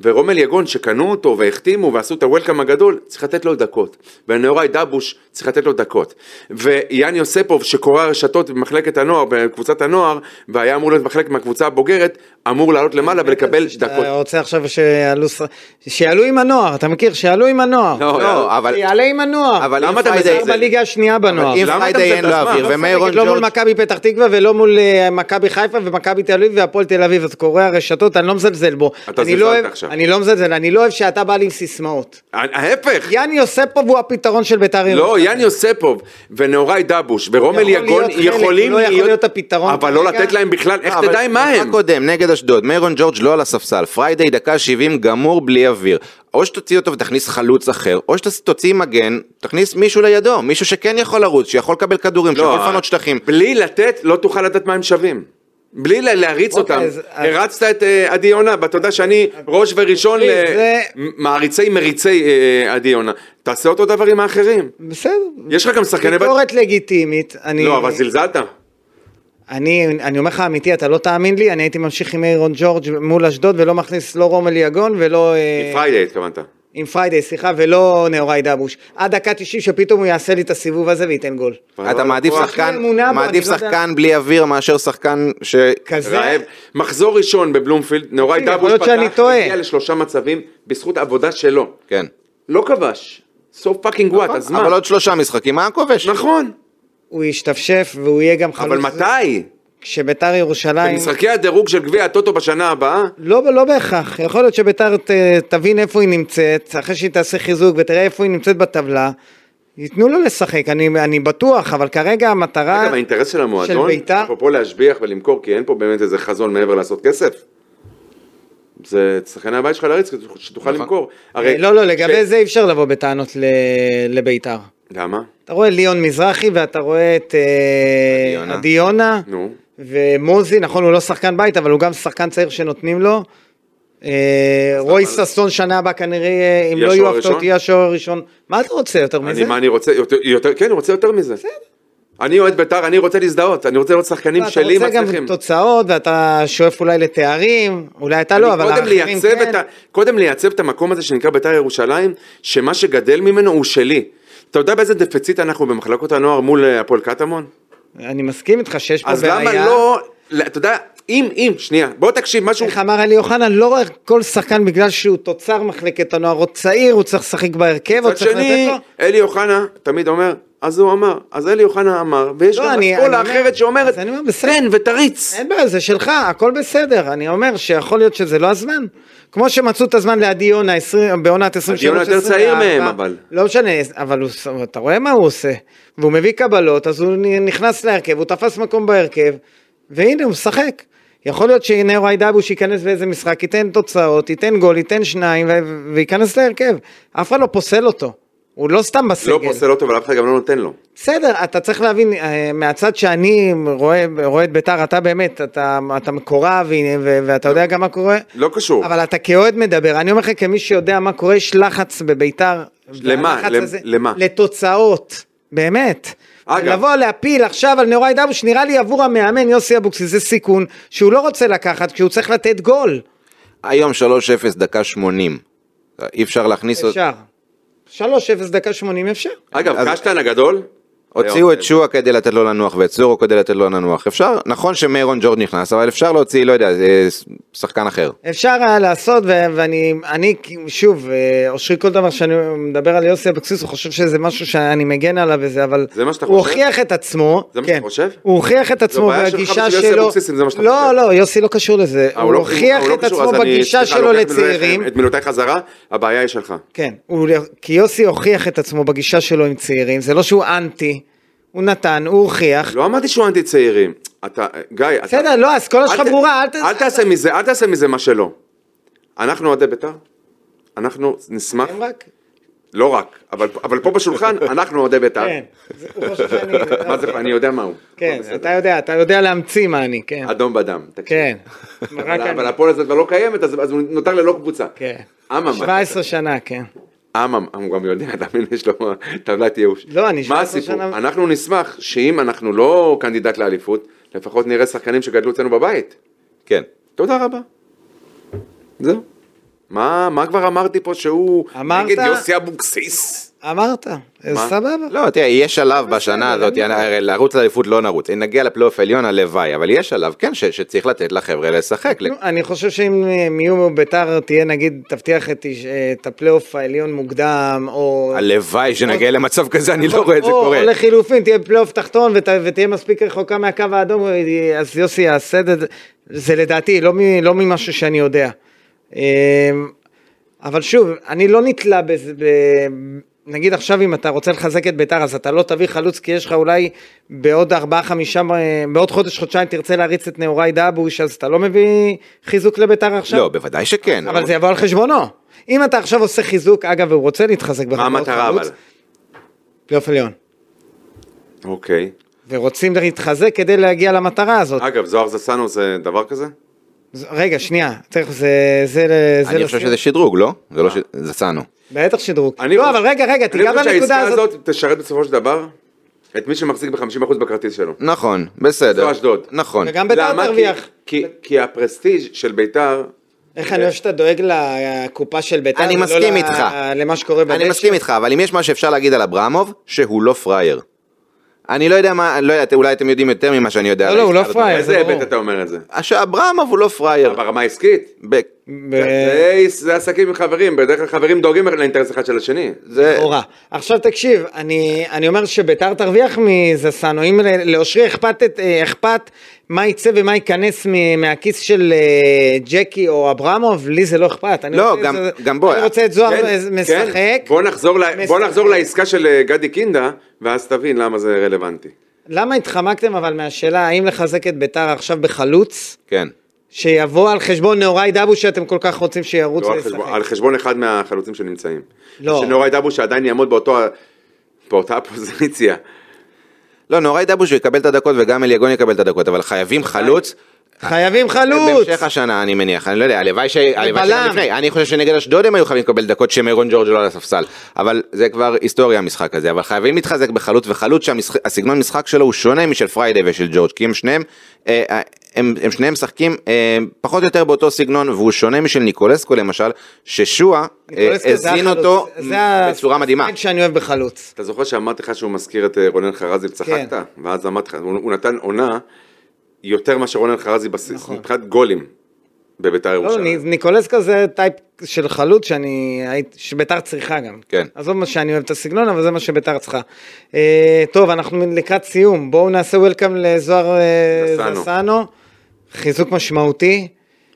C: ורומל יגון שקנו אותו והחתימו ועשו את הוולקאם הגדול, צריך לתת לו דקות. ונאורי דבוש צריך לתת לו דקות. ויאן יוספוב שקורא רשתות במחלקת הנוער, בקבוצת הנוער, והיה אמור להיות חלק מהקבוצה הבוגרת, אמור לעלות למעלה ולקבל דקות.
B: אתה רוצה עכשיו שיעלו, ש- שיעלו עם הנוער, אתה מכיר? שיעלו עם הנוער.
C: לא,
D: לא, אבל...
B: שיעלה עם הנוער.
D: אבל
C: למה
D: אם
C: אתה
D: פריידי...
C: מזלזל?
B: בליגה השנייה בנוער.
D: אם
C: למה אתה
D: פריידי
C: מזלזל?
D: אין לו
C: אז מה?
D: אוויר,
C: לא
D: ומאירון
B: לא מול
D: ג'ורג'...
B: מכבי פתח תקווה ולא מול אה, מכבי חיפה ומכבי תל אביב והפועל תל אביב, אז קורא הרשתות, אני לא מזלזל בו.
C: אתה
B: אני
C: זלזלת
B: לא אוהב-
C: עכשיו.
B: אני לא מזלזל, אני לא אוהב שאתה בא לי עם סיסמאות.
C: אה, ההפך!
B: יאני יוספוב הוא הפתרון של בית"ר
C: לא, יאן יוספוב ונאורי דבוש ורומל
B: יכול
C: יגון
B: להיות חלק,
C: יכולים
B: הוא לא
C: להיות...
B: יכול להיות הפתרון
C: אבל לא
B: כרגע. אה,
C: לתת להם בכלל, איך תדע מה
D: משחק
C: הם?
D: אה, קודם, נגד אשדוד, מיירון ג'ורג' לא על הספסל, פריידי דקה 70 גמור בלי אוויר. או שתוציא אותו ותכניס חלוץ אחר, או שתוציא מגן, תכניס מישהו לידו, מישהו שכן יכול לרוץ, שיכול לקבל כדורים, שיכול לפנות שטחים.
C: לא, אה, בלי לתת, לא תוכל לדעת מה הם שווים. בלי לה- להריץ
B: אוקיי,
C: אותם.
B: אז-
C: הרצת את אה, עדי יונה, ואתה יודע שאני ראש וראשון
B: תראי, זה-
C: למעריצי מריצי אה, עדי יונה. תעשה אותו דבר עם האחרים.
B: בסדר.
C: לא, יש לך גם שחקני... בת-
B: ביקורת לגיטימית. אני- אה,
C: לא, אבל זלזלת.
B: אני, אני אומר לך אמיתי, אתה לא תאמין לי, אני הייתי ממשיך עם איירון ג'ורג' מול אשדוד ולא מכניס לא רומל יגון ולא... אה,
C: פריידי התכוונת.
B: עם פריידי, סליחה, ולא נאורי דבוש. עד דקה 90 שפתאום הוא יעשה לי את הסיבוב הזה וייתן גול.
C: אבל לא
D: אתה מעדיף
C: לקוח-
D: שחקן,
B: אחלה אמונה בו,
D: מעדיף
B: אני לא יודע.
D: שחקן בלי אוויר מאשר שחקן ש...
B: כזה,
C: רעב. מחזור ראשון בבלומפילד, נאורי
B: תקשיב, יכול
C: דבוש
B: להיות שאני
C: פתח,
B: טועה.
C: הגיע לשלושה מצבים בזכות העבודה שלו.
D: כן.
C: לא כבש. סו פאקינג וואט,
B: נכון,
C: אז מה?
D: אבל עוד שלושה משחקים, מה הכובש?
C: נכון,
B: הוא ישתפשף והוא יהיה גם חלוץ.
C: אבל מתי?
B: כשביתר ירושלים...
C: במשחקי הדירוג של גביע הטוטו בשנה הבאה?
B: לא, לא בהכרח, יכול להיות שביתר ת- תבין איפה היא נמצאת, אחרי שהיא תעשה חיזוק ותראה איפה היא נמצאת בטבלה, ייתנו לו לשחק, אני, אני בטוח, אבל כרגע המטרה...
C: אגב, האינטרס של
B: אה, של
C: המועדון,
B: בית"ר?
C: אפרופו להשביח ולמכור, כי אין פה באמת איזה חזון מעבר לעשות כסף. זה שחקני הבית שלך להריץ, כדי שתוכל
D: נכון.
C: למכור.
B: אה, לא, לא, לגבי זה אי אפשר לבוא בטענות ל... לביתר.
C: למה?
B: אתה רואה ליון מזרחי ואתה רואה את אה,
D: עדי יונה.
B: עדי יונה
C: נו.
B: ומוזי, נכון הוא לא שחקן בית אבל הוא גם שחקן צעיר שנותנים לו. אה, רוי ששון שנה הבאה כנראה, אה, אם
C: יהיה
B: לא
C: השוער
B: יהיו הפתעות,
C: הראשון?
B: יהיה השוער הראשון. מה אתה רוצה יותר מזה?
C: אני, מה אני רוצה? יותר- יותר- כן, אני רוצה יותר מזה. אני אוהד בית"ר, אני רוצה להזדהות, אני רוצה לראות שחקנים
B: לא, אתה
C: שלי
B: רוצה גם
C: מצליחים.
B: תוצאות ואתה שואף אולי לתארים, אולי אתה לא,
C: אני
B: אבל
C: קודם
B: האחרים
C: לייצב, את ה...
B: כן.
C: קודם לייצב את המקום הזה שנקרא בית"ר ירושלים, שמה שגדל ממנו הוא שלי. אתה יודע באיזה דפציט אנחנו במחלקות הנוער מול אה, הפועל קטמון?
B: אני מסכים איתך שיש פה
C: אז
B: בעיה.
C: למה לא לא, אתה יודע, אם, אם, שנייה, בוא תקשיב, משהו...
B: איך אמר אלי אוחנה, לא רק כל שחקן בגלל שהוא תוצר מחלקת הנוער או צעיר, הוא צריך לשחק בהרכב, הוא
C: מצד
B: צריך
C: שני,
B: לתת לו.
C: אלי אוחנה תמיד אומר, אז הוא אמר, אז אלי אוחנה אמר, ויש
B: לא,
C: גם
B: אני-
C: אסכולה
B: אני אומר-
C: אחרת שאומרת,
B: אז אני אומר, בסדר.
C: תן ותריץ.
B: אין בעיה, זה שלך, הכל בסדר. אני אומר שיכול להיות שזה לא הזמן. כמו שמצאו את הזמן לעדי יונה 20 בעונת 23.
C: עדי יונה יותר צעיר
B: 24.
C: מהם, אבל.
B: לא משנה, אבל הוא, ש- אתה רואה מה הוא עושה. והוא מביא קבלות, אז הוא נ- נכנס להרכב, הוא תפס מקום בהרכב, והנה הוא משחק. יכול להיות שהנה אוהד אבוש ייכנס באיזה משחק, ייתן תוצאות, ייתן גול, ייתן שניים, ו- וייכנס להרכב. אף אחד לא פוסל אותו. הוא לא סתם בסגל.
C: לא פוסל אותו, אבל אף אחד גם לא נותן לו.
B: בסדר, אתה צריך להבין, אה, מהצד שאני רואה, רואה את ביתר, אתה באמת, אתה, אתה מקורב ו- ו- ואתה יודע גם מה קורה,
C: לא קשור.
B: אבל אתה כאוהד מדבר, אני אומר לך כמי שיודע מה קורה, יש לחץ בביתר.
C: למה?
B: והלחץ
C: למ-
B: הזה-
C: למה?
B: לתוצאות, באמת.
C: אגב.
B: לבוא להפיל עכשיו על נוראי דבוש, נראה לי עבור המאמן יוסי אבוקסיס, זה סיכון שהוא לא רוצה לקחת, כשהוא צריך לתת גול.
D: היום 3-0 דקה 80. אי אפשר להכניס... אותו.
B: אפשר. 3-0 דקה 80 אפשר.
C: אגב,
D: אז-
C: קשטן הגדול, אה, אוקיי.
D: הוציאו את שועה כדי לתת לו לנוח ואת זורו כדי לתת לו לנוח. אפשר, נכון שמיירון ג'ורד נכנס, אבל אפשר להוציא, לא יודע, אה, שחקן אחר.
B: אפשר היה לעשות, ו- ואני, אני, שוב, אה, אושרי, כל דבר שאני מדבר על יוסי אבקסיס, הוא חושב שזה משהו שאני מגן עליו וזה, אבל...
C: זה מה שאתה
B: הוא
C: חושב?
B: הוכיח את עצמו.
C: זה מה
B: כן.
C: שאתה חושב?
B: הוא הוכיח את עצמו
C: בעיה שלך
B: והגישה
C: ושל
B: שלו...
C: יוסי אבוקסיס, אם זה מה שאתה
B: לא,
C: חושב.
B: לא, יוסי לא קשור לזה.
C: אה,
B: הוא
C: לא-
B: הוכיח
C: הוא לא
B: את
C: קשור,
B: עצמו
C: אז אני-
B: בגישה
C: סליחה,
B: שלו
C: לוקח את מילותיי-
B: לצעירים.
C: את מילותיי חזרה, הבעיה היא שלך.
B: כן, הוא, כי יוסי הוכיח את עצמו בגישה שלו עם צעירים, זה לא שהוא אנטי, הוא נתן, הוא הוכיח.
C: לא אמרתי שהוא אנטי צעירים. אתה, גיא, אתה...
B: בסדר, לא, האסכולה
C: אל
B: שלך
C: ת-
B: ברורה, אל ת...
C: אל תעשה מזה, אל תעשה מזה מה שלא. אנחנו אוהדי בית"ר, אנחנו נשמח,
B: הם רק...
C: לא רק, אבל אבל פה בשולחן, אנחנו אוהדי בית"ר.
B: כן, זה- הוא חושב שאני...
C: מה זה, אני יודע מה הוא.
B: כן,
C: הכל בסדר.
B: אתה יודע, אתה יודע להמציא מה אני, כן.
C: אדום בדם. תקשיב.
B: כן. רק
C: אבל-
B: אני.
C: אבל הפועל הזאת כבר לא קיימת, אז אז הוא נותר ללא קבוצה.
B: כן.
C: אממה,
B: 17 שנה, כן.
C: אממה, הוא גם יודע, תאמין, יש לו טבלת ייאוש.
B: לא, אני
C: מה
B: 17
C: הסיפור?
B: שנה-
C: אנחנו נשמח שאם אנחנו לא קנדידט לאליפות, לפחות נראה שחקנים שגדלו אצלנו בבית.
D: כן.
C: תודה רבה. זהו. מה, מה כבר אמרתי פה שהוא
B: אמרת-
C: נגד יוסי אבוקסיס?
B: אמרת, אז
C: מה?
B: סבבה.
D: לא, תראה, יש שלב בשנה
B: לא-
D: הזאת, הרי לרוץ לאליפות לא נרוץ. אם נגיע לפלייאוף עליון, הלוואי, אבל יש שלב, כן, ש- שצריך לתת לחבר'ה לשחק.
C: לא.
B: נו, אני חושב שאם הם יהיו ביתר, תהיה נגיד, תבטיח את איש- אה, את הפלייאוף העליון מוקדם, או...
D: הלוואי שנגיע למצב כזה, אני לא רואה את זה
B: או-
D: קורה.
B: או לחילופין, תהיה בפלייאוף תחתון ות- ותהיה מספיק רחוקה מהקו האדום, אה, אז יוסי יעשה את זה. זה לדעתי, לא מ- לא ממשהו שאני יודע. אמ, אבל שוב, אני לא נתלה בזה, ב- נגיד עכשיו אם אתה רוצה לחזק את ביתר, אז אתה לא תביא חלוץ, כי יש לך אולי בעוד ארבעה, חמישה, אה, בעוד חודש, חודשיים תרצה להריץ את נעורי דאבוש, אז אתה לא מביא חיזוק לביתר עכשיו?
D: לא, בוודאי שכן.
B: אבל זה יבוא על חשבונו. אם אתה עכשיו עושה חיזוק, אגב, והוא רוצה להתחזק בחברות
C: מה
B: חלוץ,
C: המטרה אבל?
B: פלייאוף עליון.
C: אוקיי.
B: ורוצים להתחזק כדי להגיע למטרה הזאת.
C: אגב, זוהר זסנו זה דבר כזה?
B: ז- רגע, שנייה, צריך, זה, זה, זה, אה.
D: אני חושב
B: לשים-
D: שזה שדרוג, לא? זה לא ש... זצנו.
B: בטח שדרוג.
C: אני
B: לא,
C: חושב-
B: אבל רגע, רגע, תיגע
C: אני חושב
B: בנקודה
C: שהעסקה
B: הזאת.
C: הזאת תשרת בסופו של דבר את מי שמחזיק ב-50% בכרטיס שלו.
D: נכון, בסדר.
C: זו אשדוד.
D: נכון.
B: וגם ביתר
C: למה? כי-
B: תרוויח. לא
C: כי- כי הפרסטיג' של ביתר,
B: איך אני אוהב שאתה דואג לקופה של ביתר,
D: אני
B: ולא
D: מסכים
B: ל-
D: איתך.
B: למה שקורה בדשא.
D: אני מסכים איתך, אבל אם יש מה שאפשר להגיד על אברמוב, שהוא לא פראייר. אני לא יודע מה, אני לא יודע, אולי אתם יודעים יותר ממה שאני יודע.
B: לא,
D: על
B: לא, הוא לא
D: ההסתדרות.
B: פראייר.
C: איזה
B: זה ברור.
C: היבט אתה אומר את זה?
D: שאברמוב הוא לא פראייר.
C: ברמה העסקית?
D: ב-
B: ב-
C: זה- זה עסקים עם חברים, בדרך כלל חברים דואגים לאינטרס אחד של השני.
D: זה...
B: לכאורה. עכשיו תקשיב, אני, אני אומר שביתר תרוויח מזסנו, אם ל- לאושרי אכפת, את- אה, אכפת מה יצא ומה ייכנס מ- מהכיס של אה, ג'קי או אברמוב, לי זה לא אכפת. אני
D: לא,
B: רוצה את
D: גם-
B: זה-
D: גם בוא,
B: אני רוצה את זוהר
C: כן,
B: לא, משחק.
C: כן. בוא נחזור ל- בוא
B: משחק.
C: נחזור לעסקה של אה, גדי קינדה, ואז תבין למה זה רלוונטי.
B: למה התחמקתם אבל מהשאלה האם לחזק את ביתר עכשיו בחלוץ,
D: כן.
B: שיבוא על חשבון נאורי דאבו שאתם כל כך רוצים שירוץ
C: לא, על חשבון- על
B: וישחק?
C: חשבון אחד מהחלוצים שנמצאים.
B: לא.
C: שנוראי דאבו שעדיין יעמוד באותו ה- באותה הפוזיציה.
D: לא, נוראי דבוש הוא יקבל את הדקות וגם אליגון יקבל את הדקות, אבל חייבים חלוץ.
B: חייבים חלוץ!
D: בהמשך השנה אני מניח, אני לא יודע, הלוואי ש... הלוואי שגם
B: בלם.
D: לפני, אני חושב שנגד אשדוד הם היו חייבים לקבל דקות שמרון ג'ורג' לא על הספסל, אבל זה כבר היסטוריה המשחק הזה, אבל חייבים להתחזק בחלוץ, וחלוץ שהסגנון משחק שלו הוא שונה משל פריידי ושל ג'ורג', כי הם שניהם, אה, אה, הם, הם שניהם משחקים אה, פחות או יותר באותו סגנון, והוא שונה משל ניקולסקו למשל, ששועה אה,
B: ניקולסקו זה
D: הזין
B: החלוץ,
D: אותו
B: זה ה-
D: בצורה מדהימה.
B: השחקן שאני אוהב בחלוץ.
C: אתה זוכר שאמרתי לך שהוא מזכיר את אה, רונן חרזי וצחקת?
B: כן.
C: ואז אמרתי לך, הוא הוא נתן עונה יותר מאשר רונן חרזי בסיס,
B: נכון.
C: מבחינת גולים בביתר
B: לא,
C: ירושלים.
B: נ- ניקולסקו זה טייפ של חלוץ שאני הייתי, שביתר צריכה גם.
D: כן.
B: עזוב מה שאני אוהב את הסגנון, אבל זה מה שביתר צריכה. אה, טוב, אנחנו לקראת סיום, בואו נעשה וולקאם לזוהר אה,
C: זסנו.
B: זסנו. חיזוק משמעותי.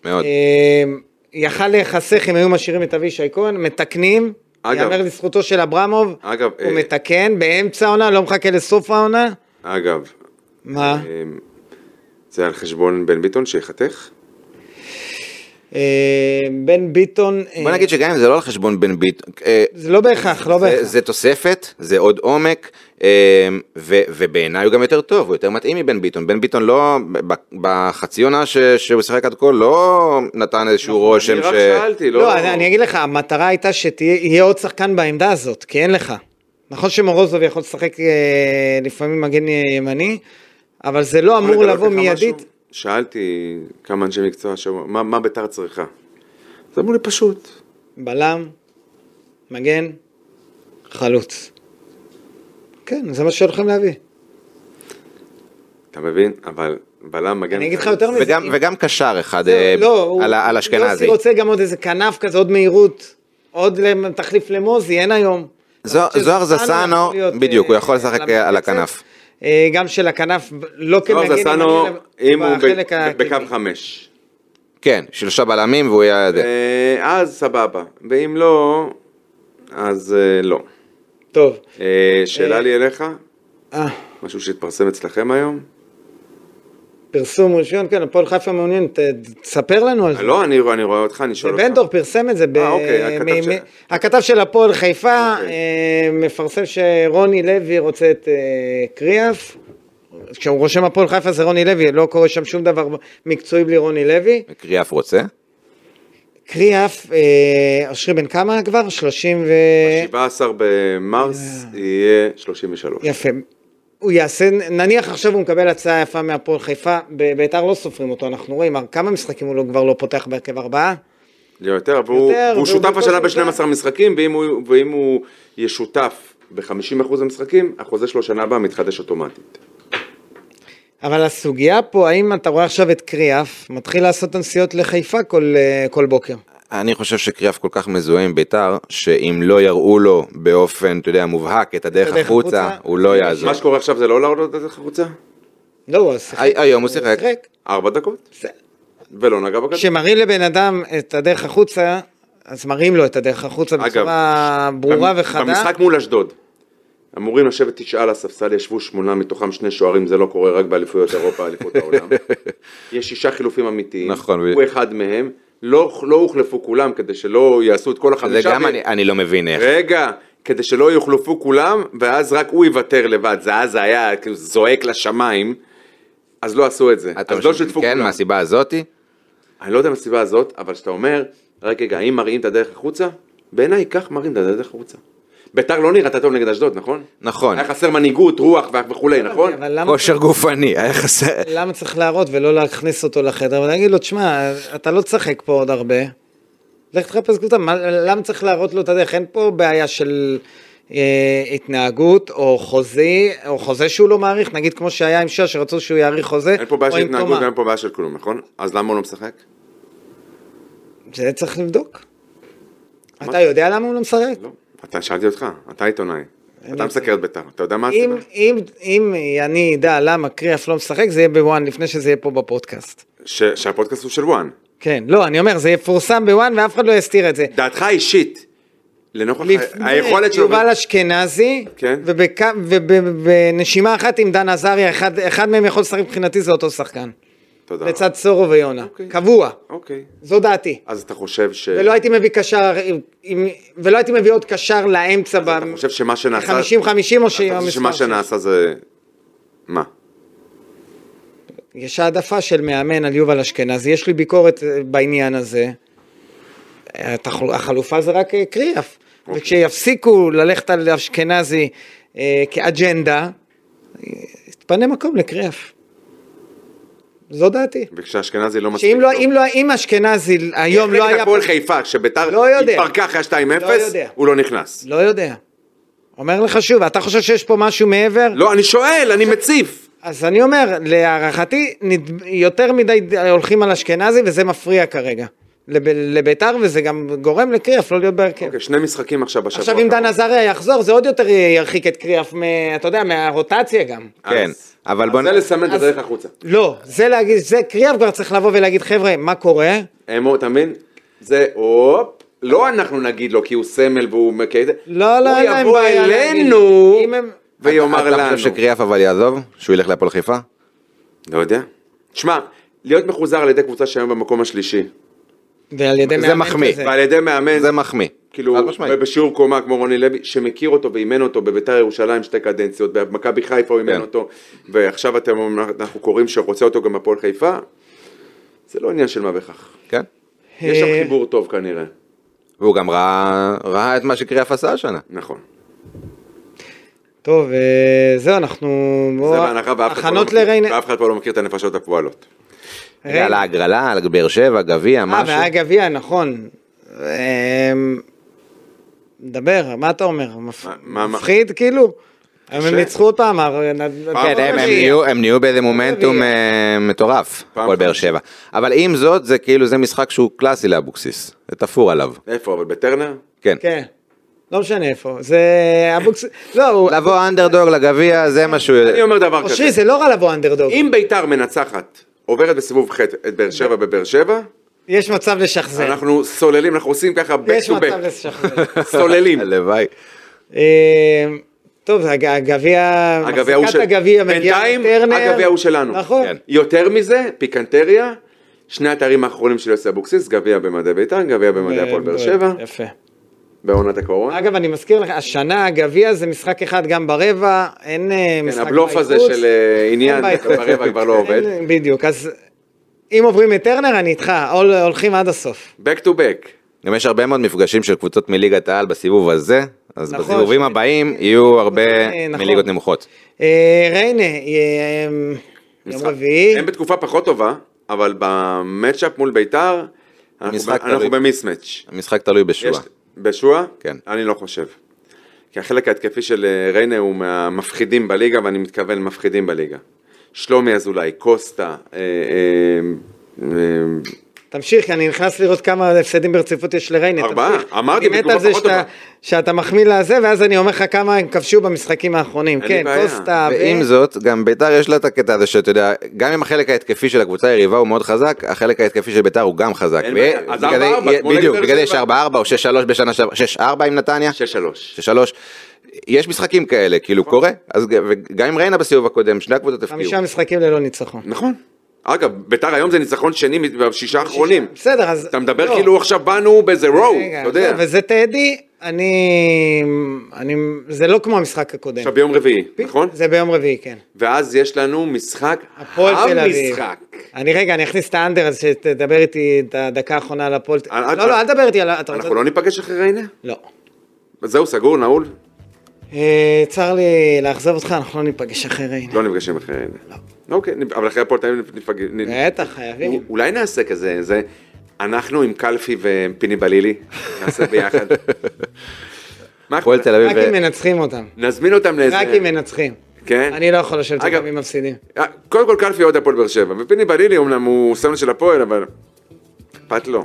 D: מאוד.
B: אה, יכל להיחסך אם היו משאירים את אבישי כהן, מתקנים.
C: אגב-
B: יאמר לזכותו של אברמוב,
C: אגב,
B: הוא
C: אה,
B: מתקן באמצע העונה, לא מחכה לסוף העונה.
C: אגב,
B: מה?
C: אה, זה על חשבון בן ביטון שיחתך?
B: אה, בן ביטון, אה,
D: בוא נגיד שגם אם זה לא על חשבון בן ביטון, אה,
B: זה לא בהכרח, לא
D: זה-
B: בהכרח.
D: זה תוספת, זה עוד עומק, אה, ו- ובעיניי הוא גם יותר טוב, הוא יותר מתאים מבן ביטון. בן ביטון לא, ב- בחצי עונה ש- שהוא שיחק עד כה, לא נתן איזשהו רושם
C: אני רק
D: ש...
C: שאלתי, לא...
B: לא, אני, אני אגיד לך, המטרה הייתה שתהיה עוד שחקן בעמדה הזאת, כי אין לך. נכון שמורוזוב יכול לשחק אה, לפעמים מגן ימני, אבל זה לא אמור
C: לגלות
B: לבוא
C: לך
B: מיידית.
C: משהו? שאלתי כמה אנשי מקצוע, שאמרו, מה, מה ביתר צריכה? אז אמרו לי פשוט,
B: בלם, מגן, חלוץ. כן, זה מה שהולכים להביא.
C: אתה מבין? אבל בלם מגן...
B: אני אגיד לך יותר מזה.
D: וגם,
B: אם-
D: וגם קשר אחד
B: זהו,
D: אה,
B: לא, הוא-
D: על, ה- על אשכנזי.
B: יוסי רוצה גם עוד איזה כנף כזה, עוד מהירות, עוד למ- תחליף למוזי, אין היום.
D: זו-
B: למרות
D: זוהר
B: שזסנו
D: זסנו,
B: יכול להיות,
D: בדיוק, הוא
B: אה,
D: יכול לשחק
B: למפרצת.
D: על הכנף.
B: אה, גם של הכנף, ב- לא כמגן,
C: טוב,
B: ימני,
C: זסנו,
B: אלא
C: אם הוא ב-
B: בחלק
C: ב- בקו
B: הקדמי.
C: חמש.
D: כן, שלושה בלמים והוא היה...
B: כן.
D: זה.
C: אה, אז סבבה, ואם לא, אז אה, לא.
B: טוב.
C: אה, שאלה
B: אה,
C: לי אליך,
B: אה,
C: משהו שהתפרסם אצלכם היום?
B: פרסום ראשון, כן, הפועל חיפה מעוניין, ת- תספר לנו על זה.
C: אה, לא, אני רואה אני רואה אותך, אני שואל אותך.
B: בן דור פרסם את זה, ב-
C: אה, אוקיי, הכתב
B: מ-
C: של-
B: מ- הכתב של הפועל חיפה
C: אוקיי.
B: אה, מפרסם שרוני לוי רוצה את אה, קריאף. כשהוא רושם הפועל חיפה זה רוני לוי, לא קורה שם שום דבר מקצועי בלי רוני לוי.
D: קריאף רוצה.
B: קריאף, אה, אושרי בן כמה כבר? 30 ו...
C: 17 במרס
B: אה.
C: יהיה 33.
B: יפה. הוא יעשה, נניח עכשיו הוא מקבל הצעה יפה מהפועל חיפה, ב- ביתר לא סופרים אותו, אנחנו רואים כמה משחקים הוא לא- כבר לא פותח בהרכב ארבעה.
C: לא יותר, אבל הוא-
B: יותר,
C: והוא
B: והוא
C: שותף
B: בכל
C: השנה
B: זאת
C: ב-12 משחקים, ואם הוא- ואם הוא יהיה שותף ב-50% המשחקים, החוזה שלו שנה הבאה מתחדש אוטומטית.
B: אבל הסוגיה פה, האם אתה רואה עכשיו את קריאף, מתחיל לעשות את הנסיעות לחיפה כל, אה, כל בוקר.
D: אני חושב שקריאף כל כך מזוהה עם ביתר, שאם לא יראו לו באופן, אתה יודע, מובהק את הדרך
B: הדרך
D: החוצה,
B: החוצה.
D: הוא לא יעזור.
C: מה שקורה עכשיו זה לא להראות את החוצה?
B: לא, הוא שיחק.
D: הי- היום הוא שיחק.
C: ארבע דקות? ולא נגע בכדור?
B: כשמראים לבן אדם את הדרך החוצה, אז מראים לו את הדרך החוצה
C: אגב,
B: בצורה ברורה
C: במ-
B: וחדה.
C: במשחק מול אשדוד. אמורים לשבת תשעה על הספסל, ישבו שמונה, מתוכם שני שוערים, זה לא קורה רק באליפויות אירופה, אליפות העולם. יש שישה חילופים אמיתיים,
D: נכון, ו-
C: הוא אחד מהם, לא, לא הוחלפו כולם כדי שלא יעשו את כל
D: זה
C: החמישה.
D: גם
C: ו-
D: אני- אני לא מבין איך.
C: רגע, כדי שלא יוחלפו כולם, ואז רק הוא יוותר לבד, זה אז זה היה כאילו זועק לשמיים, אז לא עשו את זה,
D: אתה
C: אז לא
D: חושב-
C: שיתפו
D: כן,
C: כולם.
D: מהסיבה הזאתי.
C: אני לא יודע מהסיבה הזאת, אבל כשאתה אומר, רק רגע, האם מראים את הדרך החוצה? בעיניי, כך מראים את הדרך החוצה. ביתר לא נראתה טוב נגד אשדוד, נכון?
D: נכון.
C: היה חסר מנהיגות, רוח וכולי, נכון?
B: אבל למה,
D: כושר גופני, היה חסר.
B: למה צריך להראות ולא להכניס אותו לחדר? ולהגיד לו, תשמע, אתה לא תשחק פה עוד הרבה. לך תחפש קבוצה, מה- למה צריך להראות לו את הדרך? אין פה בעיה של אה, התנהגות או חוזה, או חוזה שהוא לא מעריך, נגיד כמו שהיה עם שש, שרצו שהוא יעריך חוזה,
C: אין פה בעיה
B: או
C: של
B: עם
C: התנהגות
B: תומה.
C: ואין פה בעיה של כלום, נכון? אז למה הוא לא משחק?
B: זה צריך לבדוק. אתה יודע למה הוא לא משחק?
C: לא. אתה, שאלתי אותך, אתה עיתונאי. אתה מסקר את ביתר, אתה יודע מה
B: אם,
C: הסיבה?
B: אם, אם אני אדע למה קריאף לא משחק, זה יהיה בוואן לפני שזה יהיה פה בפודקאסט.
C: ש- שהפודקאסט הוא של וואן.
B: כן, לא, אני אומר, זה יפורסם בוואן ואף אחד לא יסתיר את זה.
C: דעתך האישית, לנוכח ה-
B: לפני
C: היכולת שלו...
B: יובל אשכנזי,
C: כן.
B: ובנשימה אחת עם דן עזריה, אחד, אחד מהם יכול לשחק מבחינתי, זה אותו שחקן.
C: תודה.
B: לצד סורו ויונה.
C: אוקיי.
B: קבוע.
C: אוקיי.
B: זו דעתי.
C: אז אתה חושב ש...
B: ולא הייתי מביא קשר, עם- עם- ולא הייתי מביא עוד קשר לאמצע ב...
C: אתה חושב שמה שנעשה...
B: 50-50 או
C: אתה
B: שעם
C: חושב שמה
B: המספר שלי?
C: שנעשה זה... מה?
B: יש העדפה של מאמן על יובל אשכנזי, יש לי ביקורת אה, בעניין הזה. התחל- החלופה זה רק אה, קריאף.
C: אוקיי.
B: וכשיפסיקו ללכת על אשכנזי אה, כאג'נדה, אה, יתפנה מקום לקריאף. זו דעתי.
C: וכשאשכנזי לא מספיק
B: שאם לא, אם לא, אם אשכנזי היום לא היה...
C: הפועל חיפה, כשביתר
B: לא יודע.
C: התפרקה אחרי
B: לא יודע.
C: 2-0, הוא לא נכנס.
B: לא יודע. אומר לך שוב, אתה חושב שיש פה משהו מעבר?
C: לא, אני שואל, אני מציף.
B: אז אני אומר, להערכתי, נד- יותר מדי ד- הולכים על אשכנזי, וזה מפריע כרגע. לב- לביתר, וזה גם גורם לקריאף לא להיות בהרכב.
C: אוקיי, שני משחקים עכשיו בשבוע.
B: עכשיו, אם
C: הקרוב.
B: דן עזריה יחזור, זה עוד יותר ירחיק את קריאף, מ- אתה יודע, מהרוטציה גם.
C: אז-
D: כן, אבל בוא
C: אז זה
D: נ-
C: לסמן את
B: אז-
C: הדרך החוצה.
B: לא, זה להגיד, זה קריאף כבר צריך לבוא ולהגיד, חבר'ה, מה קורה?
C: אמור, אתה מבין? זה הופ. לא אנחנו נגיד לו כי הוא סמל והוא מכיר את זה.
B: לא, לא, אין להם
C: הוא יבוא
B: בעיה להגיד.
C: אלינו
B: אם הם-
C: ויאמר
D: אתה- אתה חושב
C: לנו.
D: שקריאף אבל יעזוב? שהוא ילך להפועל חיפה?
C: לא יודע. שמע, להיות מחוזר על ידי קבוצה שהיום במקום השלישי.
B: ועל ידי
D: זה
B: מאמן
D: מחמיא.
B: כזה.
C: ועל ידי מאמן,
D: זה מחמיא.
C: כאילו,
D: חד משמעית.
C: בשיעור קומה כמו רוני לוי, שמכיר אותו ואימן אותו בביתר ירושלים שתי קדנציות, במכבי חיפה הוא אימן
D: כן.
C: אותו, ועכשיו אתם, אנחנו קוראים שרוצה אותו גם הפועל חיפה, זה לא עניין של מה בכך.
D: כן.
C: יש שם
B: אה,
C: חיבור טוב כנראה.
D: והוא גם ראה ראה את מה שקריאף עשה השנה.
C: נכון.
B: טוב, אה, זהו, אנחנו...
C: זה בהנחה ואף אחד פה לא
B: הכנות
C: מכיר-
B: לריינה...
C: ואף אחד פה לא מכיר את הנפשות הפועלות.
B: ריינה.
D: על ההגרלה, על באר שבע, גביע,
B: אה,
D: משהו.
B: והיה גביע, נכון. אמ, דבר, מה אתה אומר? מפ-
C: מה- מה-
B: מפחיד כאילו? היום הם
C: קשה.
B: ניצחו עוד פעם, אבל-
D: כן, הם- הם
B: רביעי.
D: נהיו- הם נהיו באיזה מומנטום
B: רביעי.
D: אה, מטורף,
C: פעם
D: הפועל באר
C: חמש.
D: שבע. אבל עם זאת, זה כאילו, זה משחק שהוא קלאסי לאבוקסיס. זה תפור עליו.
C: איפה, אבל בטרנר?
D: כן.
B: כן, לא משנה איפה. זה אבוקס... לא, הוא-
D: לבוא אנדרדוג לגביע, זה מה שהוא...
C: אני אומר דבר כזה.
B: אושרי, אה, זה לא רע לבוא אנדרדוג.
C: אם ביתר מנצחת, עוברת בסיבוב ח' את באר שבע בבאר שבע,
B: יש מצב לשחזר.
C: אנחנו סוללים, אנחנו עושים ככה back
B: יש
C: to
B: מצב
C: back.
B: לשחזר.
C: סוללים.
D: הלוואי.
B: אמ, טוב, הג- הגביע...
C: הגביע הוא של...
B: מחזיקת הגביע מגיעה
C: בינתיים,
B: לטרנר.
C: הגביע הוא שלנו.
B: נכון.
D: כן.
C: יותר מזה, פיקנטריה, שני התארים האחרונים של יוסי אבוקסיס, גביע במדעי ביתר, גביע במדעי הפועל באר שבע,
B: כן, יפה.
C: בעונת הקורונה.
B: אגב, אני מזכיר לך, השנה הגביע זה משחק אחד גם ברבע, אין אה,
C: כן,
B: משחק
C: הבלוף הזה
B: בחוץ.
C: של אה, עניין
B: אין בחוץ.
C: ברבע כבר לא עובד.
B: אין, בדיוק, אז אם עוברים את טרנר, אני איתך, הול- הולכים עד הסוף.
C: back to back.
D: גם יש הרבה מאוד מפגשים של קבוצות מליגת העל בסיבוב הזה, אז
B: נכון,
D: בסיבובים
B: ש-
D: הבאים יהיו הרבה
B: אה, נכון.
D: מליגות נמוכות.
B: אה, ריינה, אה, אמ, יום
C: משחק-
B: רביעי,
C: הם בתקופה פחות טובה, אבל במצ'אפ מול ביתר, אנחנו
D: משחק
C: ב- אנחנו
D: תלוי.
C: במיסמץ'.
D: המשחק תלוי
C: יש-
D: בשועה.
C: בשועה?
D: כן.
C: אני לא חושב. כי החלק ההתקפי של אה, ריינה הוא מהמפחידים בליגה, ואני מתכוון מפחידים בליגה. שלומי אזולאי, קוסטה, אה, אה, אה,
B: תמשיך, כי אני נכנס לראות כמה הפסדים ברציפות יש לריינה,
C: ארבעה,
B: תמשיך.
C: אמרתי,
B: אני מת
C: בתגובה
B: על זה
C: פחות
B: שאתה-
C: טובה.
B: שאתה מחמיא לזה, ואז אני אומר לך כמה הם כבשו במשחקים האחרונים,
C: אין לי
B: כן,
C: בעיה.
B: קוסטה, ו-
C: אה,
D: ועם זאת, גם ביתר יש לה את הקטע הזה שאתה יודע, גם אם החלק ההתקפי של הקבוצה היריבה הוא מאוד חזק, החלק ההתקפי של ביתר הוא גם חזק.
C: אין
D: ו-
C: בעיה, אז
D: בגלל זה-
C: 4-4,
D: יה-
C: כמו נגד
D: בדיוק,
C: באר
D: בגלל זה יש
C: שבע.
D: 4-4 או 6-3 בשנה שעברה, 6-4 עם נתניה,
C: 6-3.
D: 6-3. יש משחקים כאלה, כאילו
C: נכון.
D: קורה, אז ג- וגם עם ריינה בסיבוב הקודם, שני הקבוצות הפתיעו.
B: חמישה משחקים ללא ניצחון.
C: נכון. אגב, ביתר היום זה ניצחון שני מת- בשישה האחרונים.
B: בסדר, אז...
C: אתה מדבר
B: לא.
C: כאילו עכשיו באנו באיזה רואו,
B: רגע,
C: אתה יודע.
B: לא, וזה טדי, אני... אני... זה לא כמו המשחק הקודם.
C: עכשיו ביום רביעי, נכון?
B: זה ביום רביעי, כן.
C: ואז יש לנו משחק,
B: הפועל תל אביב.
C: המשחק.
B: אני רגע, אני אכניס את האנדר אז שתדבר איתי את הדקה האחרונה על הפועל.
C: אל- אל-
B: לא, לא, אל תדבר איתי על... ה- אתה רוצה-
C: אנחנו לא ניפגש אחרי ריינה?
B: לא.
C: זהו, סגור, נעול?
B: אה, צר לי לאכזב אותך, אנחנו לא ניפגש אחרי ריינה.
C: לא נפגשים אחרי ריינה. אוקיי, אבל אחרי הפועל תל אביב ניפגש. נ-
B: לא. בטח, חייבים.
C: אולי נעשה כזה, זה... אנחנו עם קלפי ופיני בלילי, נעשה ביחד. מה
D: הפועל תל אביב,
B: רק אם מנצחים אותם.
C: נזמין אותם לאיזה...
B: רק אם מנצחים.
C: כן?
B: אני לא יכול לשבת
C: אגב-
B: אותם אם מפסידים.
C: אה, קודם כל קלפי אוהד הפועל באר שבע, ופיני בלילי אומנם הוא סמל של הפועל, אבל... אכפת לו.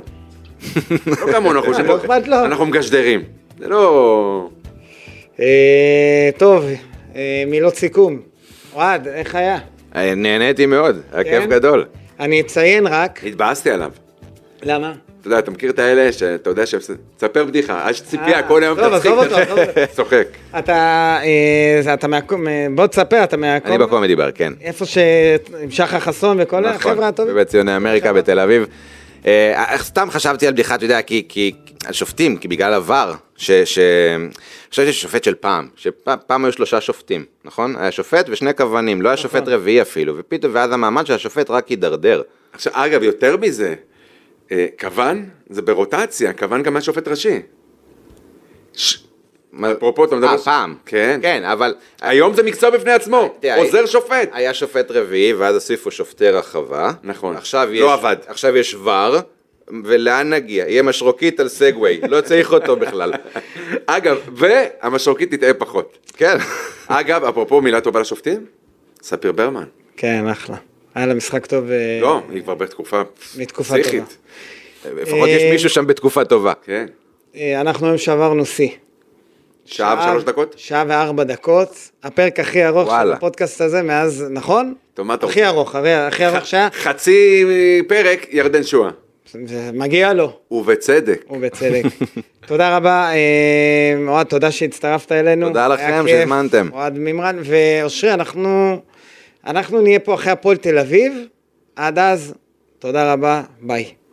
C: לא כמונו, אנחנו
B: לא אכפת לו.
C: אנחנו מגשדרים. זה לא...
B: אה, טוב, אה, מילות סיכום. אוהד, איך היה?
D: אה, נהניתי מאוד, היה כיף
B: כן?
D: גדול.
B: אני אציין רק...
C: התבאסתי עליו.
B: למה?
C: אתה יודע, אתה מכיר את האלה שאתה יודע שהם... תספר בדיחה, יש ציפייה,
B: אה,
C: כל היום
B: טוב,
C: תצחיק.
B: עזוב אותו, עזוב אותו.
C: צוחק.
B: אתה, אה, זה- אתה מהקום, אה, בוא תספר, אתה מהקום,
D: אני בקומדי בר, כן.
B: איפה ש... עם שחר חסון וכל
D: נכון,
B: החבר'ה הטובים.
D: בבית ציוני אמריקה בתל אביב. אה, אה, סתם חשבתי על בדיחה, אתה יודע, כי, כי, על שופטים, כי בגלל עבר, ש... ש... חשבתי ששופט של פעם, שפעם פעם היו שלושה שופטים, נכון? היה שופט ושני כוונים, לא היה שופט רביעי אפילו, ופתאום, ואז המעמד של השופט רק הידרדר.
C: עכשיו, אגב, יותר מזה, אה, כוון זה ברוטציה, כוון גם היה שופט ראשי. ש-
D: מה-
C: אפרופו, אתה מדבר-
D: אה, פעם.
C: כן.
D: כן, אבל...
C: היום זה מקצוע בפני עצמו,
D: תראה, אה,
C: עוזר שופט.
D: היה שופט רביעי, ואז הוסיפו שופטי רחבה.
C: נכון.
D: עכשיו יש...
C: לא עבד.
D: עכשיו יש ור, ולאן נגיע? יהיה משרוקית על סגווי, לא צריך אותו בכלל.
C: אגב, והמשרוקית תטעה פחות.
D: כן.
C: אגב, אפרופו מילה טובה לשופטים, ספיר ברמן.
B: כן, אחלה. היה לה משחק טוב. אה,
C: לא, היא כבר בתקופה
B: מתקופה טובה.
C: פסיכית.
D: לפחות יש
B: אה,
D: מישהו שם בתקופה טובה.
C: כן.
B: אה, אנחנו היום שברנו שיא.
C: שעה ושלוש דקות?
B: שעה וארבע דקות. הפרק הכי ארוך של
D: וואלה.
B: הפודקאסט הזה מאז, נכון?
C: טוב, מה אתה
B: הכי
C: רוצה?
B: ארוך, הרי הכי ארוך שהיה.
C: חצי פרק, ירדן שואה.
B: זה מגיע לו,
C: ובצדק.
B: ובצדק. תודה רבה, אה, אוהד, תודה שהצטרפת אלינו.
D: תודה
B: היה
D: לכם
B: כיף.
D: שהזמנתם.
B: אוהד מימרן, ואושרי, אנחנו אנחנו נהיה פה אחרי הפועל תל אביב. עד אז, תודה רבה, ביי.